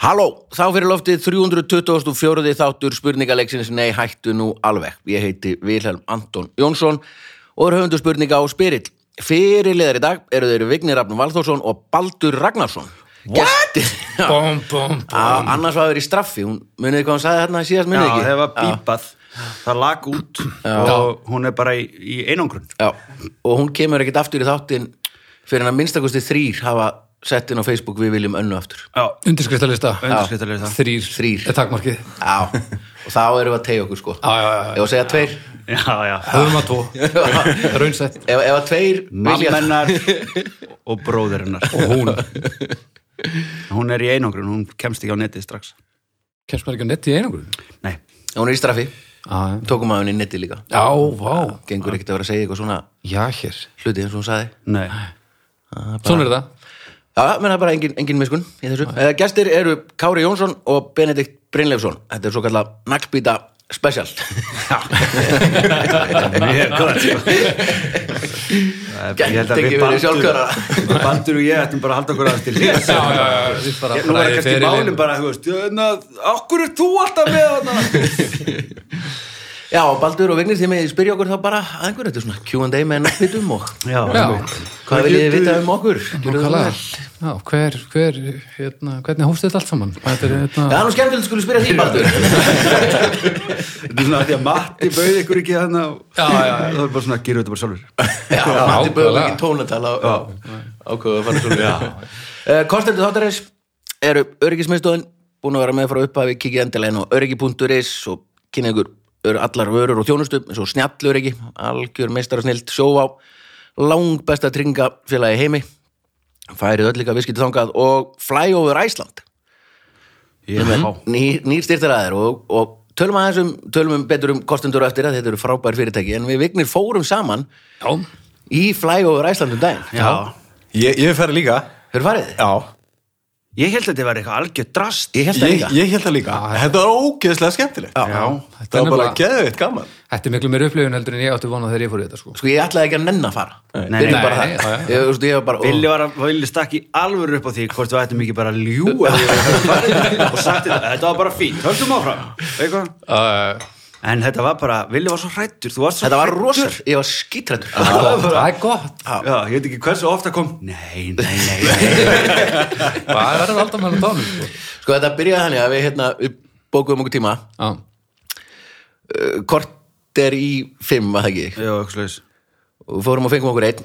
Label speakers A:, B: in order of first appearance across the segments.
A: Halló, þá fyrir loftið 324. þáttur spurningaleiksins Nei, hættu nú alveg. Ég heiti Vilhelm Anton Jónsson og er höfundu spurninga á Spyrill. Fyrirliðar í dag eru þeir Vignir Rafn Valþórsson og Baldur Ragnarsson. What?
B: Bum, bum,
C: Ah.
A: annars var það verið í straffi, hún muniði hvað hann sagði hérna síðast
C: Já,
A: muniði ekki.
C: það var bípað Það lag út og hún er bara í, í einangrun
A: Já, og hún kemur ekkit aftur í þáttin fyrir hann að minnstakosti þrýr hafa sett inn á Facebook við viljum önnu aftur.
C: Já,
B: Undirskriftalista
C: undirskriftarlega það
B: Þrýr
A: Þrír.
B: Er takmarkið
A: Já, og þá erum við að tegja okkur sko.
B: Já, já, já, já.
A: Ef að segja tveir,
C: Já, já
B: Höfum að tvo Raunsett
A: ef, ef að tveir vilja-
C: Mammennar og bróðurinnar
B: Og hún
C: Hún er í einangrun, hún kemst ekki á netið strax
B: Kemst maður ekki á netti í einangur
C: Nei,
A: Hún er í straffi,
B: Já,
A: tókum að henni netti líka
B: já, vá
A: Gengur ekkert að vera að segja eitthvað svona
B: Já, hér
A: hluti eins og hún saði
C: nei
B: Svona er það
A: Já, menn það er bara engin, engin miskun í þessu Eða gestir eru Kári Jónsson og Benedikt Brynleifsson Þetta er svo kallar naglbýta special
C: Mjög gott sko. Það er- Ég held að
A: Gæti ekki
C: við
A: verið sjálfkjara.
C: Baldur Baldur og ég ættum bara að halda okkur aðeins til hliðs.
B: Já, já, já Við bara
C: Nú er
B: fræði
C: kannski
B: ferilinn.
C: málum bara, þú veist "Jöna, Af hverju er þú alltaf með hana?
A: Já, og Baldur og Vignir, þið með spyrja okkur þá bara að einhverju Þetta er svona Q&A með naglbýtum og
C: Já,
B: Já,
A: Hvað viljið þið vita um okkur? Gjörðu það
B: nákvæmlega
A: vel.
B: Já, hver, hver, hérna Hvernig hófst þetta allt saman? Þetta er
A: Já, það
B: hérna
A: er nú skemmtilegt að skulu spyrja því, Baldur
C: Þetta er svona að því að Matti bauði ykkur ekki hana og
B: Já, já, já.
C: það er bara svona að gera þetta bara sjálfur
A: Já, Matti Böðum
B: nákvæmlega.
A: ekki tónatala ákveðu að fara svo Kostendur þáttarins eru öryggismiðstöðin búin að vera með frá upphafi kikið endilega inn á öryggi.is og kynna ykkur ör- allar vörur og þjónustu eins og snjallöryggi, algjör meistarasnild sjóvá, langbesta tryggingafélagi í heimi færið öll líka viðskipti þangað og fly over Iceland
C: Já,
A: nýr, nýr styrtaræðir og, og tölum aðeins um, tölum um betur um kostendur á eftir að þetta eru frábær fyrirtæki en við vignir fórum saman
B: Já,
A: í fly over Iceland um daginn
C: já.
D: Ég, ég fer líka
A: Hefur farið?
D: Já,
C: Ég held að þetta var eitthvað algjör drast
A: Ég held það
D: ég,
A: líka
D: ég held það líka Þetta var ógeðslega skemmtilegt
C: Já.
B: Þetta
D: Það
B: er
D: var bara
B: nefnilega-
D: geðveitt gaman
B: Þetta er miklu meir upplifun heldur en ég átti vonað þegar ég fór í þetta sko.
A: Sko ég ætlaði ekki að nenn að fara Við
C: Nei,
A: erum
C: nei,
A: bara
B: nei, já,
A: það
B: já.
A: Ég, þú veist, ég var bara ó.
C: Villi var að Villi stakk í alvöru upp á því hvort við ættum ekki bara að ljúga því að við varum og sagt þetta, þetta var bara fínt, höldum áfram eitthvað.
B: uh,
C: en þetta var bara, Villi var svo hrættur þú varst svo
A: Þetta var
C: hræddur.
A: rosar, ég var skítrættur
B: Það er gott
C: Já, ég veit ekki hversu ofta kom Nei, nei, nei, nei.
B: Það er að halda með hann á tónum sko.
A: Sko þetta byrjaði þannig að við, hérna, við bókuðum okkur tíma
B: Já,
A: uh, Kort er í fimm, var það ekki
C: Já, eitthvað slags
A: Og fórum og fengum okkur einn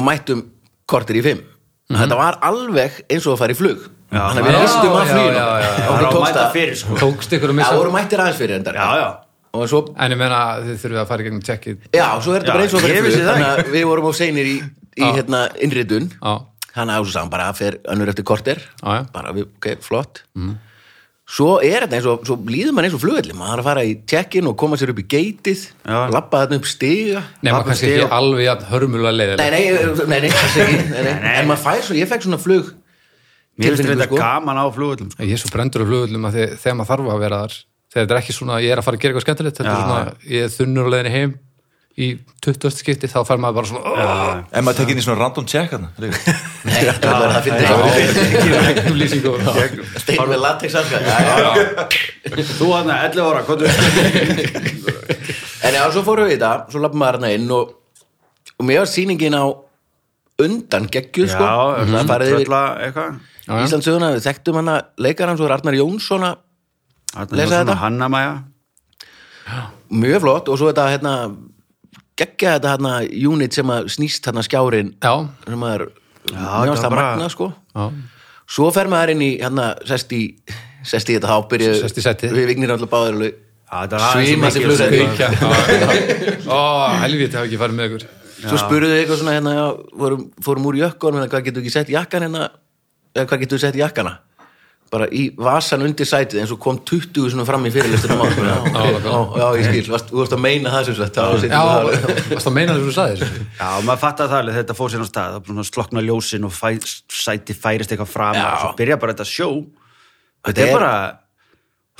A: Og mættum kortir í fimm Þetta var alveg eins og að fara í flug
C: Já.
A: Þannig að við
B: Já,
A: restum að
B: já,
A: fluginu
B: já, já, já.
C: Það
A: Okkur
C: var að
A: tókst
C: mæta
A: að
C: fyrir sko
B: tókst ykkur að
A: Já,
B: missa
A: voru mættir aðeins fyrir endar
C: Já, já
A: Og svo,
B: En ég meina þið þurfið að fara í gegnum tjekkið
A: já, svo er þetta
C: Já,
A: bara eins og að
C: ég
A: fara í
C: vissi
A: flug
C: það
A: Þannig að við vorum á seinir í, í hérna, innritun
B: Já,
A: hann að ásins hann bara fer önnur eftir korter
B: Já, já. Mhm.
A: bara við, ok, flott svo er þetta eins og svo líður mann eins og flugvelli maður er að fara í check-in og koma sér upp í geitið
C: Já.
A: labba þarna upp stiga
B: nema
C: Pabbi
B: kannski
C: Steo.
B: ekki alveg jafn hörmulega leiðilega
A: nei, nei, nei, nei, kannski ekki, nei, nei. en maður fær svo, ég fekk svona flug
C: Mér finnst
A: tilfinningu,
C: þetta
A: sko.
C: gaman á flugvöldum
B: Ég er svo brendur á flugullum að þið, þegar maður þarf að vera þar þegar þetta er ekki svona, ég er að fara að gera eitthvað skemmtilegt þetta er
C: Já.
B: svona, ég er þunnur á leiðinni heim í 20. skipti, þá fær maður bara svona
D: En maður tekið inn í svona random check hann
A: nei, það er það
B: "Ó,
A: fyndið
B: gegnum lýsingu Já,
A: stein með latex aska en
C: Þú hann að 11 ára, hvað
A: já, svo fórum við í þetta svo labba maður hana inn og, og mér var sýningin á undan geggjuð sko
C: Já, um
A: það farið yfir
C: trölla eitthvað
B: já.
A: Íslandsöguna, við þekktum hana leikarann svo er Arnar Jónsson að
C: Þarna
A: Lesa
C: var svona
A: þetta?
C: Hanna-Maja
A: mjög flott og svo þetta hérna geggja þetta hérna unit sem að snýst hérna skjárin
B: já,
A: sem að er
C: þetta
A: mjög
C: var
A: að
C: bara-
A: magna sko
B: já.
A: svo fer maður inn í hérna sest í, sest í þetta þá byrju
B: Sest í settið.
A: við vignir alltaf báður alveg
C: Já, þetta var aðeins
A: Svimandi
C: mikið
A: flugræði.
C: sem-
B: Kveikja, já, já. Ó, helviti hafa ekki farið með ykkur
A: svo spurðu þau eitthvað svona hérna já, vorum, fórum úr jökkun hérna, hvað getur ekki sett í jakkan hérna eða hvað getur sett í jakkana bara í vasan undir sætið eins og kom 20 svona fram í fyrirlistur já,
B: ok.
A: já, já, ég skil, varst- þú varst að meina það sem sagt þá situr
B: Já,
A: það alveg.
B: varst það meina þess að þú sagði þessu?
C: Já, og maður fattar það alveg, þetta fór sér á stað það svona slokna ljósin og fæ, sæti færist eitthvað fram
A: Já.
C: og svo byrja bara þetta sjó
A: Þetta
C: þetta er
A: er-
C: bara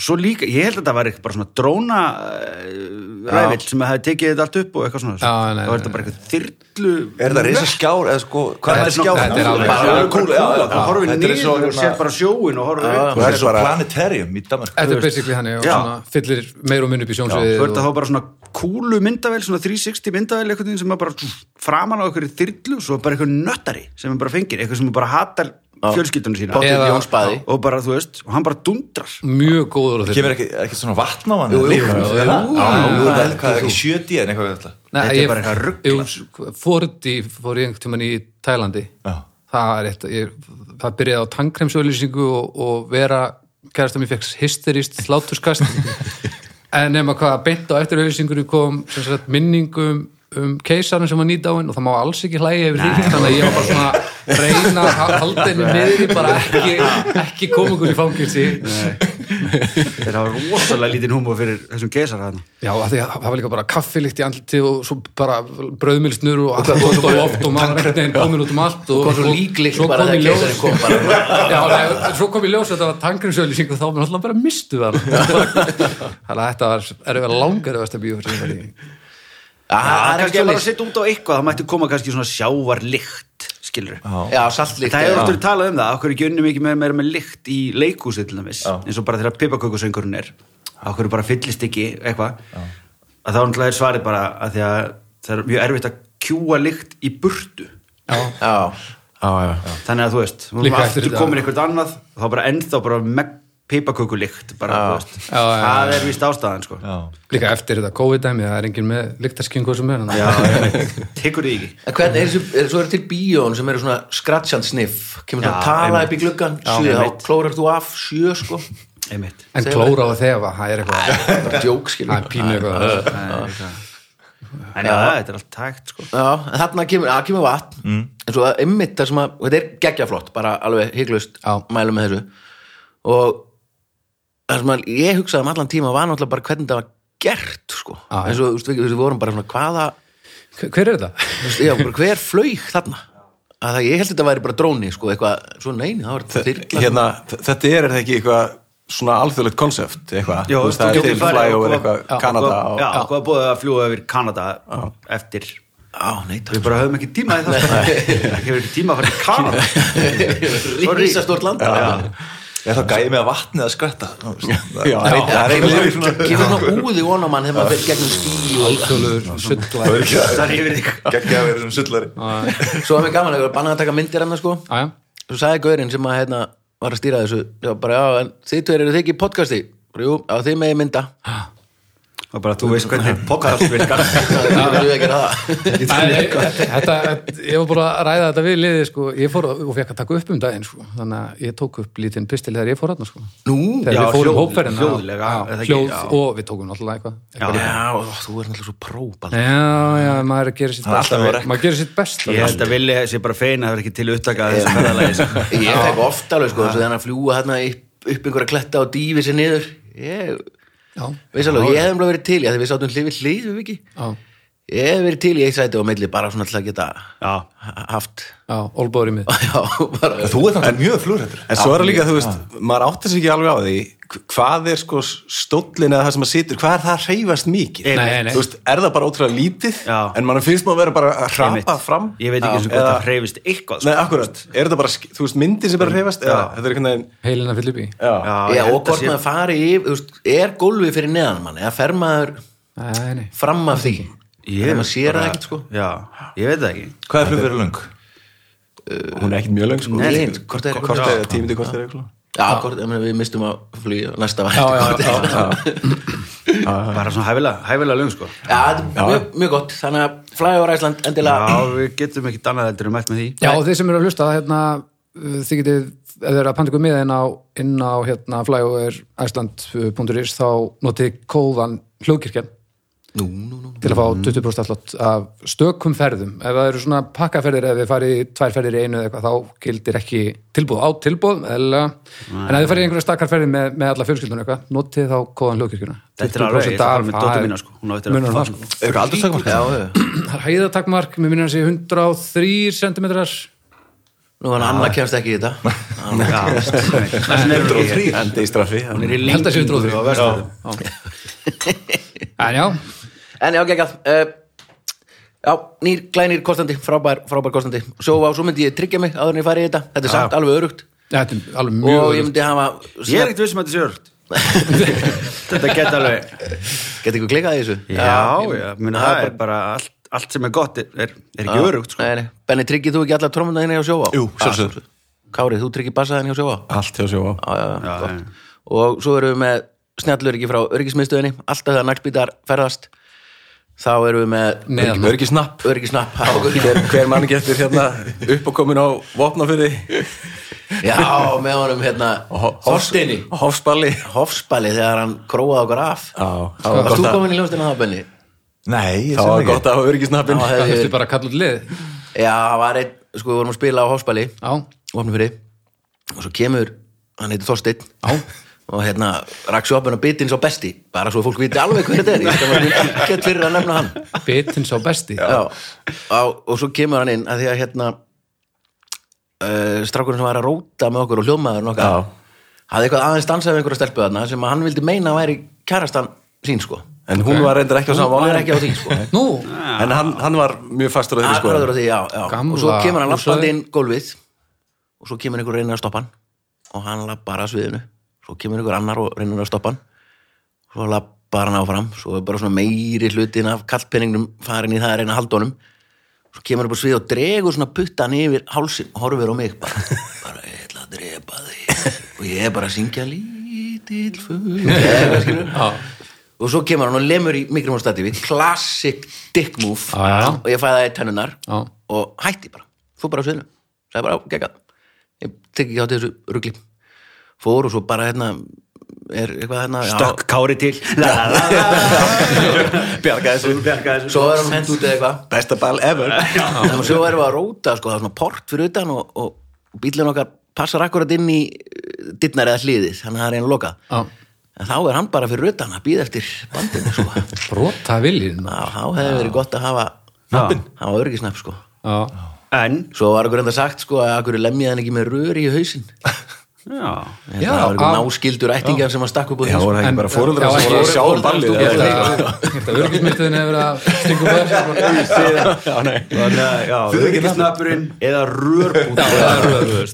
C: Svo líka, ég held að það var eitthvað bara svona dróna uh, rævill sem hefði tekið þetta allt upp og eitthvað svona
B: Já, nei,
C: Það var
B: nei,
C: þetta bara eitthvað þyrlu
D: Er það reysa skjár eða sko, hvað
B: Þetta
D: er
B: er
D: skjár?
B: svona- þetta er alveg-
D: Bara alveg kúla, já, já,
C: Það horfir
D: þetta er eins
C: niður og
D: hérna-
C: sér bara sjóin og horfir upp
D: Það er svo
E: bara-
D: planetarium í Danmark
B: Þetta er basically hann og
C: Já.
B: svona fyllir meir og minni upp í sjónsviðið
C: Þú ert að
B: og-
C: þá bara svona kúlu myndavél, svona 360 myndavél eitthvað veginn sem er bara framan á einhverju þyrlu svo bara eitthvað nöttari sem er bara fengir eitthvað sem er bara hatar fjölskyldunum sína
A: Pottur
B: Eða-
A: Jón Spaði
C: og bara, þú veist, og hann bara dundrar
B: mjög góður á þetta
D: Kemur ekki, ekki svona vatn á hann?
B: jú,
D: líka?
B: jú, jú.
D: Já,
B: Jú,
D: það er- Hvað er ekki 70 en eitthvað við ætla?
B: Nei,
C: Þetta er
B: ég,
C: bara eitthvað ruglað.
B: ég, Fordi fór ég einhvern tímann í Tælandi
D: Já.
B: það er eitt ég, það byrjaði á tannkremsauðlýsingu og, og vera kærasta mér fekk hysterist hláturskast en nema hvað beint á eftir auðlýsingunni kom sem sagt, minning um, um keisarinn sem var nýdáin og það má alls ekki hlægi yfir því þannig að ég var bara svona að reyna að ha- halda henni niður bara ekki, ekki komungur í fangilsi
C: þeir hafa rosalega lítinn húmó fyrir þessum geisar hann
B: Já, af því að það var líka bara kaffilikt í andliti og svo bara brauðmilsnur og allt og loft og maður ekkert einn komin út um allt og,
A: kom svo líklykt
B: svo
A: bara
B: kom
A: þegar
B: í ljós
A: keisarinn kom bara.
B: Já, nei, svo kom í ljós að þetta var tangrinsöðlýsing og þá mér alltaf bara mistu það Þannig að þetta var erfið langar eða stefnjú
A: Það
C: það
A: er
C: er kannski
A: ekki
C: bara
A: alveg
C: að setja út á eitthvað það mætti koma kannski svona sjávarlikt skilur
A: Já, saltlíkt
C: það er
A: já.
C: oftur talað um það, okkur ekki unni mikið meira, meira með likt í leikhúsi til dæmis
D: Já.
C: eins og bara þegar pipakökusöngurinn er okkur bara fyllist ekki eitthvað að þá náttúrulega er svarið bara að því að það er mjög erfitt að kjúa likt í burtu
A: Já,
E: Já, já, já.
C: þannig að þú veist, þú
B: Líka
C: erum
B: eftir
C: aftur
B: þetta.
C: komin eitthvað annað og þá bara ennþá bara með pipakökulikt bara, þú veist,
B: Já, já, já.
C: það er víst ástæðan sko.
D: Já.
B: Líka eftir þetta COVID-dæmi, það er enginn með lyktaskyngu sem er
C: Já,
B: þannig að-
C: tekur þið ekki
A: En hvernig er þessu, er, svo eru til bíón sem eru svona skrattsjand sniff, kemur svona
C: Já,
A: að tala
C: einmitt.
A: upp í gluggan,
C: Já,
A: sjö,
C: einmitt.
A: þá klórar þú af, sjö sko
C: einmitt
B: En klóra á þefa, það er eitthvað
A: bara djók skilur
B: Það er pínu eitthvað
C: en já, þetta er allt tækt sko.
A: Já, en þarna kemur, að kemur vatn
E: Mm.
A: en svo að ymmit það sem að, og þetta er geggjaflott bara alveg hygglust,
B: Já.
A: mælum með þessu og það sem að ég hugsaði um allan tíma var náttúrulega bara hvernig það var gert sko
B: Já.
A: eins og þú veist, við- við vorum bara svona hvaða
B: Hver er þetta?
A: þú veist, já, bara, hver flaug þarna að það, ég held þetta væri bara dróni sko, eitthvað, svo neini, það var þyrla
E: Hérna, þ- þetta er er þetta ekki eitthvað svona alþjóðlegt konsept eitthvað,
C: Jó,
E: Þú veist, það er til flyover
C: Já,
E: eitthvað Kanada
C: hvað-
E: og
C: Já, hvað búið að fljúa yfir Kanada eftir
A: á, nei,
C: Við bara höfum ekki tíma í það Hefur ekki tíma að fara til Kanada
A: takk Rísastort land
D: Er það gæði með að vatni að skvætta?
E: Já, það er
A: Kemur
E: eiginlega
A: svona- kemur svona úði vona mann þegar maður fyrir gegnum skí og
B: Tölur, sulllæg
C: Það er yfir þig
D: Gekkið að vera svona sullari
A: svo var mér gaman að vera bannað að taka myndir hann sko.
B: Já, já
A: svo sagði gaurinn sem að hérna, var að stýra þessu já, bara, já, en þið tveir eru þið ekki í podcasti Bara, jú, á þið megi mynda
C: Og bara þú veist hvernig podcast virkar
A: það er ekki að það
B: Nei, þetta, ég var bara að ræða þetta við liðið sko, ég fór og fekk að taka upp um daginn sko, þannig að ég tók upp lítinn pistil þegar ég fór hann sko.
A: nú,
B: þegar
C: já,
B: við fórum
C: hljóð-
B: hópferðina
C: hljóðlega,
B: já,
C: er það ekki?
B: hljóð
C: Já.
B: og við tókum náttúrulega eitthvað,
C: Já,
B: eitthvað líka.
A: já, ó, þú er náttúrulega svo próbald
B: já, já, maður er að gera sitt
D: Það er alltaf
B: besta
D: verið.
B: maður gerir sitt besta
C: Ég held að vilja sé bara feina Það er ekki til upptaka að þessu ferðalagi sko.
A: ég fekk ofta alveg sko, þannig að fljúa hérna upp, upp einhverja kletta og dýfi sér niður ég,
B: já,
A: veist alveg, ég hefði bara verið til í að því við sátum hlið við hlið, við ekki
B: já,
A: ég hef verið til í eitt sæti og milli bara svona til að geta
C: Já.
A: ha- haft
B: já, olbóður í mig
A: já, bara,
D: Þú ert þannig mjög flúrættur
E: En svo er það líka, þú veist, maður áttir sig ekki alveg á því hv- hvað er sko stóllin eða það sem maður situr, hvað er það að hreyfast mikið?
C: Nei,
B: nei, nei.
E: Þú veist, er það bara ótrúlega lítið,
C: Já.
E: en mann finnst maður vera bara að hrapa
C: Einmitt.
E: fram?
C: Ég veit ekki eins og hvort
E: Eða-
C: það hreyfist eitthvað
E: Nei,
C: sko.
E: akkurat, er þetta bara, sk- þú veist, myndin sem er að hreyfast? Já. Þetta er einhvern veginn,
B: heilina fyllir bí
E: já.
C: Já,
A: já,
C: ég held
A: og
C: að
A: hvort
C: sé-
A: maður fari í þú veist, er gólfið fyrir neðan mann eða fer maður
B: nei, nei.
A: fram af því
C: Ég-
A: þegar maður sér það ekkert sko
C: Já, ég veit það ekki
D: Hvað er flug fyrir lung?
E: Hún er ekkert mjög löng, sko.
A: Nei,
E: Þú veist,
A: nei, korter er-
E: korter eða tímiti korter eða eitthvað.
A: já, hvort, ég meina, við mistum að flýja næsta vært
B: já,
A: já,
B: já, já, já.
C: Bara svona hæfilega, hæfilega löng sko
A: þetta er mjög, mjög gott þannig að flæði á Ræsland endilega
C: Já, við getum ekki dannað heldur um eftir með því
B: Já, og þeir sem eru að hlusta, hérna, uh, þið getið, ef þið eru að panta ykkur miða inn á, inn á hérna, flyoverisland.is, þá notið kóðan hlugkirkjan
A: nú, nú, nú
B: til að fá 20% allot af stökum ferðum. Ef það eru svona pakkaferðir, ef þið farið í tvær ferðir í einu eða eitthvað, þá gildir ekki tilbúð á tilbúð, eða, en ef þið farið í einhverja stakkar ferðir með, með alla fjölskyldunum eitthvað, notið þá kóðan hlugkirkjuna.
C: Þetta er alveg, ég ætla að fara með dóttur mína, sko. Hún á eftir að-
B: Munar um það, sko.
D: Er eitthvað aldurstakmark?
A: já, já.
B: Það er hæðatakmark, mér minnir að sé 103 cm
A: Nú hann annað kemst ekki í þetta
C: Nei,
E: Endi í straffi
C: hún er í
B: Held að sé 103.
C: líkingu á Vestfjörðum.
B: en já,
A: En já, geggjað uh, Já, nýr, glænýr kostandi, frábær, frábær kostandi Svo, á, svo myndi ég tryggja mig áður en ég fari í þetta Þetta er samt alveg örugt
B: þetta er alveg mjög
A: Og ég
B: öðrugt.
A: myndi hafa
C: Ég er ekkert vissum að þetta sé örugt Þetta geta alveg
A: Geti ykkur klikkað í þessu?
C: Já, já, minna, það er bara allt, allt sem er gott er, er er ekki örugt sko.
A: Nei, nei. Benni, tryggir þú ekki allar trómuna þínu hjá sjóa?
E: Jú, sjálfsögðu.
A: Kári, þú tryggir bassaðin hjá sjóa?
E: Allt hjá sjóa
A: Já, já, já, gott. Og svo erum við með snjalluriki frá öryggismiðstöðinni Alltaf þegar naglbítar ferðast Þá erum við með
B: neðan
E: Örgisnapp
A: öryggisnapp á okkur.
E: hver, hver mann getur hérna upp og komin á vopnafyrði
A: Já, með honum hérna Þorsteini
E: og hofsballi
A: Hofsbali þegar hann króaði okkur af
E: Já, það var
A: Varst
E: gott
A: þú
E: að-
A: komin í ljóstina það, Benni?
D: Nei, ég
E: það
D: sem
E: var
D: ekki
E: gott að hafa örgisnappin
A: Já,
B: það
A: hefði-
B: þurfti bara að kalla út lið
A: Já, það var einn, sko, við vorum að spila á Hofsbali
B: já,
A: opnum fyrir og svo kemur, hann heitir Þorsteinn og hérna rakk svo opnum að bitin svo besti bara svo fólk viti alveg hver þetta er ég skal maður gett fyrir að nefna hann
B: bitin sá besti
A: Já. Á, og svo kemur hann inn að því að hérna uh, strákurinn sem var að róta með okkur og hljómaður okkar
E: Já.
A: hafði eitthvað aðeins dansað við einhverja stelpu þarna sem að hann vildi meina að væri kærastan sín sko
E: en hún var reyndar ekki á
A: hún
E: sama
A: var
E: vagni.
A: ekki á því sko
B: nú,
E: en hann, hann var mjög fastur á því sko
A: Akkurat á því, já, já.
B: Gamla
A: og svo kemur hann
B: húsið.
A: lappandi inn gólfið og svo kemur einhver reynir að stoppa hann og hann lappar að sviðinu svo kemur einhver annar og reynir að stoppa hann svo lappar hann áfram svo er bara svona meiri hlutin af kallpenningnum farin í það að reyna að halda honum svo kemur hann upp á svið og dregur svona puttan yfir hálsin og horfir á mig bara, bara ég ætla að drepa þig og ég er bara að syngja lítill fugl Eða, skilurðu? og svo kemur hann og lemur í mikrofónstatífi classic dick move
B: Já, já, já.
A: og ég fæði það í tennunar
B: Já.
A: og hætti bara, fór bara á sviðinu sagði bara, gegga, ég tek ekki á þessu rugli fór og svo bara hérna er eitthvað hérna já,
C: Stökk kári til La, la, la, la,
E: bjarga þessu
C: bjarga þessu.
A: svo er hann hent út eða eitthvað
E: besta ball ever
A: þannig að svo erum við að róta sko, það er svona port fyrir utan og, og, og bílun okkar passar akkurat inn í dittnar eða hliðið, þannig að það er einu lokað
B: Já.
A: en þá er hann bara fyrir utan að býða eftir bandinu sko. Já,
B: brota viljið
A: þá hefði verið gott að hafa hafa örgisnapp sko
B: já,
C: En,
A: svo var okkur enda sagt sko að okkur lemjaði hann ekki með röri í hausinn
C: já
A: Hérna,
B: Já,
A: það var einhver
B: á-
A: náskildur ættingar sem að stakk upp á
E: já,
A: því sko.
E: voru það
B: En-
E: ekki bara fóruldra
B: Já,
E: sem voru að
B: ekki-
E: sjá um ballið
B: ég held
E: eða?
B: að- ég held að örgismynduðin hefur verið að stingu bæðis
E: já, nei
C: Þannig að, já, öryggisnappurinn eða rörbúta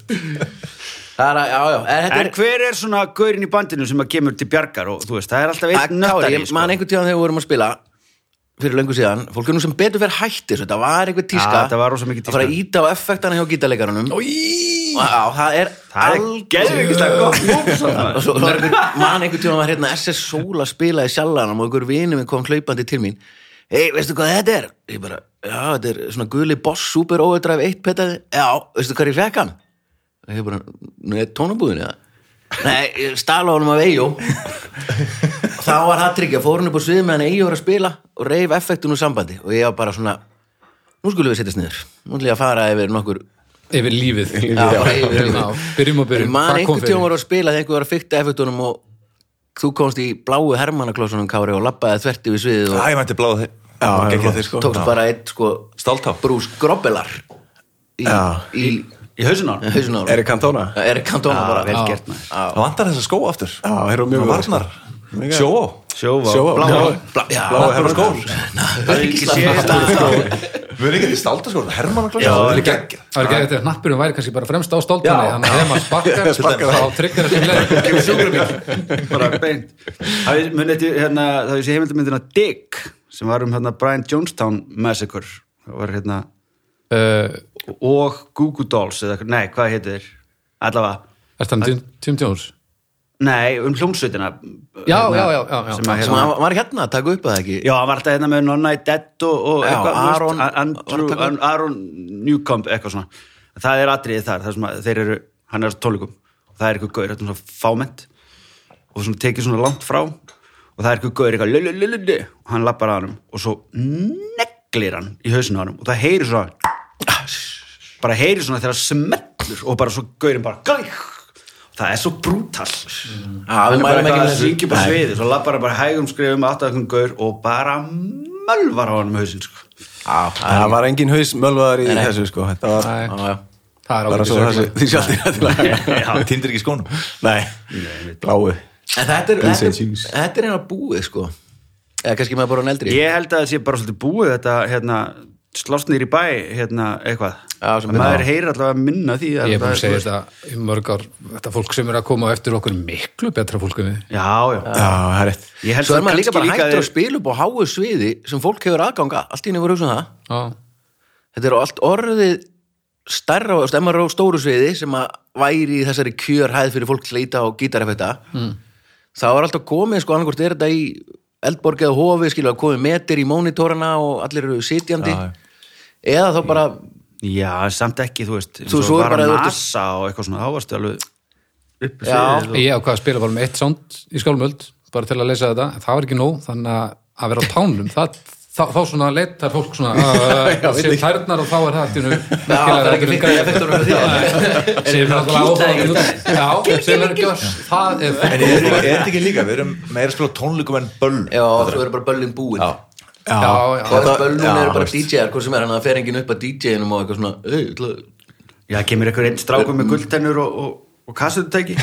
A: Það er að, já, já, en þetta
C: En
A: er
C: hver er svona gaurin í bandinu sem að kemur til bjargar og þú veist, það er alltaf
A: að-
C: einn sko?
A: Kári,
C: nöttari
A: ég man einhvern tíðan þegar við vorum að spila fyrir löngu síðan, fólk er nú sem betur fyrir hætti þessu, þetta var einhver tíska
C: Já, þetta var rosa mikið
A: að fara að íta á effektana hjá gítarleikarunum Já, það er
C: Það er
A: algjör-
C: geðvikislega gott múf
A: og svo var einhver, man einhvern tíma var hérna SS Sola spilaði sjallanum og einhver vinur minn kom hlaupandi til mín hei, veistu hvað þetta er? ég bara, já, þetta er svona guli boss super overdrive 1 petaði, já, veistu hvað ég fekk hann? og ég bara, nú er tónabúðin eða? nei, ég stala honum af Eyjó og þá var það tryggja, fór hann upp á svið með hann Eyjó var að spila og reif effektun úr sambandi og ég var bara svona, nú skulum við setjast niður nú ætlum ég að fara yfir nokkur
B: yfir lífið
A: Já, bara yfir lífið.
B: Já, byrjum og
A: En
B: byrjum,
A: man
B: hvað kom
A: einhvern tíma
B: fyrir
A: voru að spila þegar einhver var að fykta effektunum og þú komst í bláu hermannaklossunum Kári og lappaði þverti við sviðið
D: Það
A: og
D: ég mætti bláða þig
E: Já,
D: Og geggja
E: gott.
D: þig, sko.
A: tókst
D: Já.
A: bara eitt sko
D: Stáltá.
A: brús grobbelar í,
E: Já.
A: í,
C: Í hausin á hann?
A: í hausin á honum.
E: Eric Cantona?
A: Já, Eric Cantona bara
C: vel
A: Já.
C: gert maður
D: Það vantar þessa skó aftur
E: Já, þeir eru mjög
D: Það
E: góðir, sko.
D: varnar Sjóvá
C: Sjóvá
E: Sjóvá.
C: Bláa
A: Blá, já,
E: Bláu
D: Vantar á skó
C: Það er ekki séð
D: Við erum ekki til stálta skó Hermanna klasa
C: Já,
D: Það
C: það
D: er
C: er
D: geggjað
B: Það er ekki eftir að hnappurinn væri kannski bara fremst á stóltunni
E: Já.
B: þannig að ef maður sparkar,
E: Sparkar.
B: þá tryggar þessi leið
C: Kemur sjúkrabíl Bara beint Hafið- Munið eftir hérna Það hefði sé heimildamindina Dick sem var um hérna Brian Jonestown Massacre það var hérna
B: Uh,
C: og Goo Goo Dolls eða nei, hvað heitir þeir? Allavega
B: Er það Tim Jones?
C: Nei, um hljómsveitina
B: Já, já, já, já, já.
C: sem að
A: sem
C: hérna
A: hann var hérna að taka upp að það ekki
C: Já, hann var alltaf hérna með Nonna í Dead og, og
A: Já,
C: eitthvað, þú
A: Aron-
C: veist, Andrew,
A: var að taka
C: An- Aron Newcomb, eitthvað svona það er atriðið þar, þar sem að þeir eru hann er á tólikum, það er eitthvað gaur eitthvað svona fámett og svona tekið svona langt frá og það er eitthvað gaur eitthvað lululululu og hann lappar að hann og svo neglir hann í hausinu á hann og það heyrir svona bara heyrir svona þegar það smellur og bara svo gaurinn bara gæk það er svo brútal
A: Já, við
C: hann er bara
A: mælum ekki
C: eitthvað
A: með
C: að
A: þessu.
C: syngja bara
A: Nei.
C: sviði svo lappar hann bara hægum skrifum áttakum gaur og bara mölvar á hann með hausinn sko.
A: Já, já,
E: það var engin haus mölvaðar í
A: Nei, nei.
E: þessu sko þetta var
B: Nei.
A: já, já.
B: það er
E: bara svo
B: ágætis
E: þessi
B: regla.
E: því sjálf
D: Tindir ekki skónum
E: nei, bláu
A: En þetta er,
E: Pins
A: þetta,
E: and
A: er-
E: cheese.
A: þetta er hérna búið sko Eða kannski maður bara en eldri
C: Ég held að það sé bara svolítið búið þetta hérna, slásnir í bæ hérna, eitthvað.
A: Já, sem-
C: maður heyrir allavega minna af því.
B: Ég er búin
C: það
B: að segja þetta í mörg ár þetta fólk sem er að koma á eftir okkur er miklu betra fólk en við
C: Já, já.
E: já, það er rétt
C: Ég held
A: Svo
C: að
A: er maður líka
C: kannski
A: bara hættur
C: þeir-
A: að spila upp á háu sviði sem fólk hefur aðganga allt í henni voru hugsa um það
B: Já.
A: Þetta er allt orðið stærra og stemmar á stóru sviði sem að væri í þessari kjörhæð fyrir fólk leita og gítarefetta mm. þá er alltaf komið sko annarkvort er þetta í eldborg eða hofi skilur að komið metir í mónitorana og allir eru sitjandi
D: Já, já.
A: eða þá bara
C: Já, samt ekki, þú veist.
A: Þú- svo er bara
C: að
A: ef þú ert-
C: NASA og eitthvað svona, þá varstu alveg uppi
A: Já.
C: sviðið og-
B: Ég ákvað að spila bara með eitt sound í skálmöld bara til að leysa þetta, en það var ekki nóg þannig að að vera á tánum það, þá, þá svona leitar fólk svona að séu tærnar og þá er það allt í einu merkilegra
A: það er ekki
B: heldur en
A: fínt
B: græja.
A: í effektunum fyrir
B: Nei, sem er náttúrulega áhuga já, sem er ekki það er
D: En er er þetta ekki líka, við erum meira að spila á tónleikum en böll
A: já, svo eru bara böllin búin
D: Já.
B: já, já,
A: og
B: já,
A: það böllin
E: já,
A: eru bara
E: veist.
A: DJ-ar hvort sem er hann að fer enginn upp að DJ-inum og eitthvað svona "Ey, ég ætla að-"
C: Já, kemur einhver einn strákur með guldtennur og, og, og kassututæki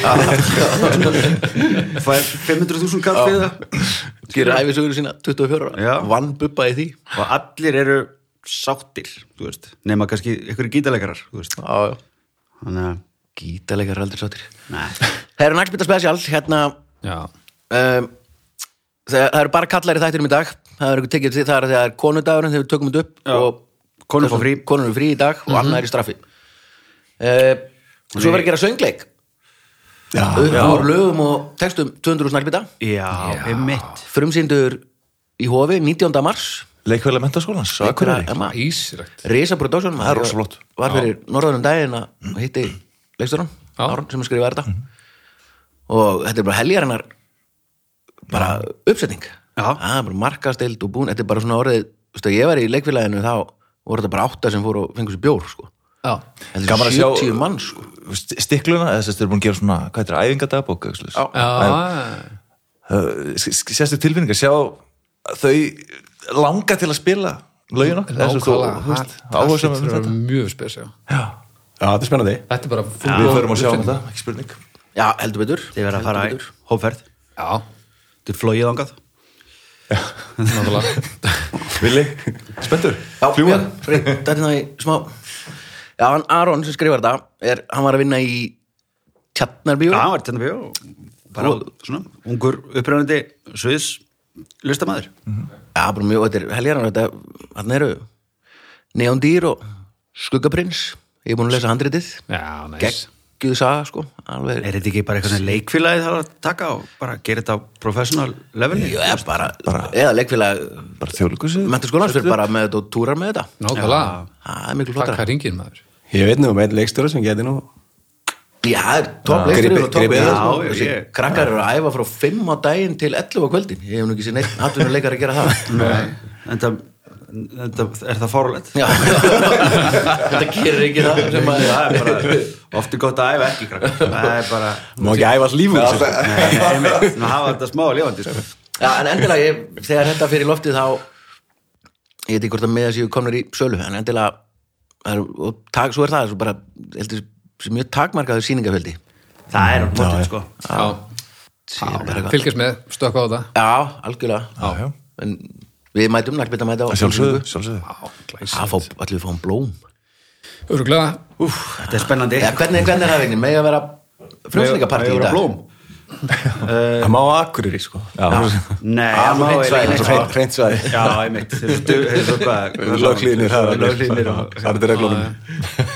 C: Fær 500.000 kall fyrir það
A: gerir æfisugur sína 24 ára.
C: Já.
A: vann bubba í því
C: og allir eru sáttir þú veist, nema kannski einhverju gítalegarar þú veist,
A: já, já
C: þannig að
A: Gítalegar aldrei sáttir
C: Nei.
A: Það eru nægspita spesial hérna
B: já.
A: um, það, það eru bara kallar í þættinum í dag það eru tekið til það er þegar konudagurinn þegar við tökum þetta upp
C: Já.
A: og
C: Konur fá frí.
A: konur er frí í dag og annað er í straffi uh, Svo verður að gera söngleik
E: já,
A: upp úr lögum og textum 200 snarkbita
C: Já, einmitt
A: frumsýndur í hofi 19. mars
D: Leikvæðlega mentaskólans, svo ekkur er
A: Einhverja- Emma,
B: ísrækt
A: Risa Production
D: Það er rosa flott.
A: Var fyrir norðanum daginn að hitti leikstjóran
B: Já.
A: Árn sem skrifaði þetta og þetta er bara heljarinnar bara uppsetning
C: Já.
A: Það er bara markastild og búin Þetta er bara svona orðið, þú veist að ég var í leikfélaginu þá voru þetta bara átta sem fóru og fengur sér bjór sko.
B: já,
A: Þetta
D: Gaman
A: er
D: að
A: 70
D: sjá-
A: mann sko.
D: st- stikluna, eða þess að þeir eru búin að gera svona hvað heitir, það, æfingadabók eitthvað svoleiðis?
B: já,
D: Uh, s- s- séstu tilfinningar, sjá þau langa til að spila lögin okkar, þessu þú
B: nákvæmlega
D: þú
B: það-
D: veist,
B: það
D: áhuga
B: hlýtur
D: sem um
B: að vera
D: þetta
B: mjög spes já.
E: já, þetta er spennandi
B: þetta er bara full-
D: Við förum að sjá um þetta, ekki spurning
A: Já, heldur betur
C: Þið verða að fara í
A: Heldur betur.
C: hóferð
B: já,
C: Þið er flóið ángað
B: náttúrulega
D: Vili, spenntur,
A: Já,
D: fljúga
A: Björn, Freyr, þetta er það í smá Já, hann Aron sem skrifar þetta er, hann var að vinna í Tjarnarbíó
C: Já, hann var tenni bjó bara svona, ungur upprænandi sviðs listamæður
A: Já, bara mjög, þetta er heljaran þetta, hann eru Neon Dýr og Skuggaprins ég er búin að lesa handritið
B: já, næs
A: geggjuð saga, sko, alveg
C: Er þetta ekki bara eitthvað leikfélagið það að taka og bara gera þetta á professional leveli?
A: Jú, eða bara, eða leikfélag
D: Bara þjóðlíkusið
A: mentarskólan fyrir bara með þetta og túrar með þetta
B: nákvæmlega,
A: það er miklu
B: takk
A: flottara
B: að ringin maður
E: ég veit nú um einn leikstjóra sem geti nú
A: Já, það er topp
E: Já.
A: leikfélag
E: Gripið-
A: og topp
E: gripið
A: leikfélag,
C: það,
A: sko.
C: já,
A: Þessi
C: ég-
A: krakkar eru að æfa frá 5 á daginn til 11 á kvöldin ég hef nú ekki sér neitt atvinnuleikar að gera það
C: En það, en það er það fórulegt?
A: Já, þetta gerir ekki það sem að
C: Það er bara, oft er gott að æfa ekki krakkar. Það er bara,
E: má ekki æfa alls lífum þessu.
C: nei, einmitt, nú hafa þetta smá og lifandi, sko.
A: Já, en endilega, ég, þegar þetta fyrir loftið þá ég veit ekki hvort að með séu komnir í sölu, en endilega það er, og tak, svo er það, svo bara heldur, sem mjög takmarkaður sýningafjöldi
C: Það er hóttið, sko.
B: já,
A: Sé bara eitthvað.
B: fylgjast með, stökka á það
A: Já, algjörlega
D: Já, já.
A: en við mætum nægt að mæta á
D: Sjálfsögðu, sjálfsögðu
A: Það fá, allir við fáum blóm
B: öruglega,
C: Úf, þetta er spennandi.
A: Já, hvernig, hvernig er það vinni? Megið að vera frjóðsleikapartí í
C: Megum
A: dag?
C: við vera blóm?
E: það má á akureyri sko
C: Nei,
A: Ah, Já,
C: það má
A: hreint
C: eiginlega
A: svæði, hreint
C: ekki fara.
E: hreint svæði.
C: Já, einmitt. Þeir eru stu- þeir eru hvað-
E: löglínir það er alveg.
C: Löglínir og-
E: það er þetta reglunum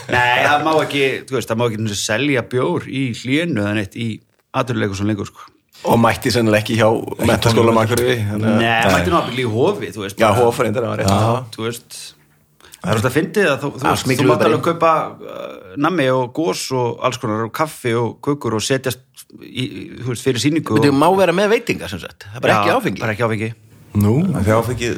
C: Nei, það má ekki, þú veist, það má ekki selja bjór í hlínu eða neitt í aturleikur svo lengur, sko.
E: og mætti sennilega ekki hjá mentaskólam akureyri þannig að-
C: Nei, mætti náttúrulega í hofi, þú veist.
E: já,
C: bara-
E: hófarindar það var rétt
C: þú veist það er alltaf fyndið að þú, þú,
A: Já,
C: veist, þú
A: smygluðu
C: mátt
A: bara
C: alveg kaupa uh, nammi og gós og alls konar og kaffi og kökur og setjast í, í, þú veist, fyrir síningu
A: Þú
C: og,
A: má vera með veitinga sem sagt, það er bara ekki áfengi
C: bara ekki áfengi
E: nú
D: Þegar áfengið,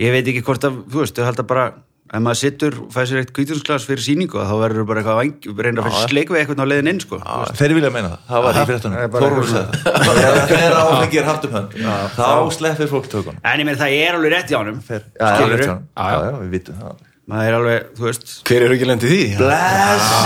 C: ég veit ekki hvort að, þú veist, þau halda bara ef maður sittur og fæði sér eitt kvítinsglas fyrir síningu þá verður bara eitthvað vang, reynir að fyrir sleikvei eitthvað á leiðin inn, sko já,
D: þeir vilja meina það Það var í fyrirtunum, Þorur sagði það Þegar- Þegar áfengið er haft um hönd Þá sleppir fólk tökunum
C: en ég meir það er alveg rétt hjá honum
D: Fer- Já, já,
C: Skilurðu?
D: rétt hjá honum. Já, já, við vitum það alveg.
C: maður er alveg, þú veist
E: Hver eru ekki lendið því?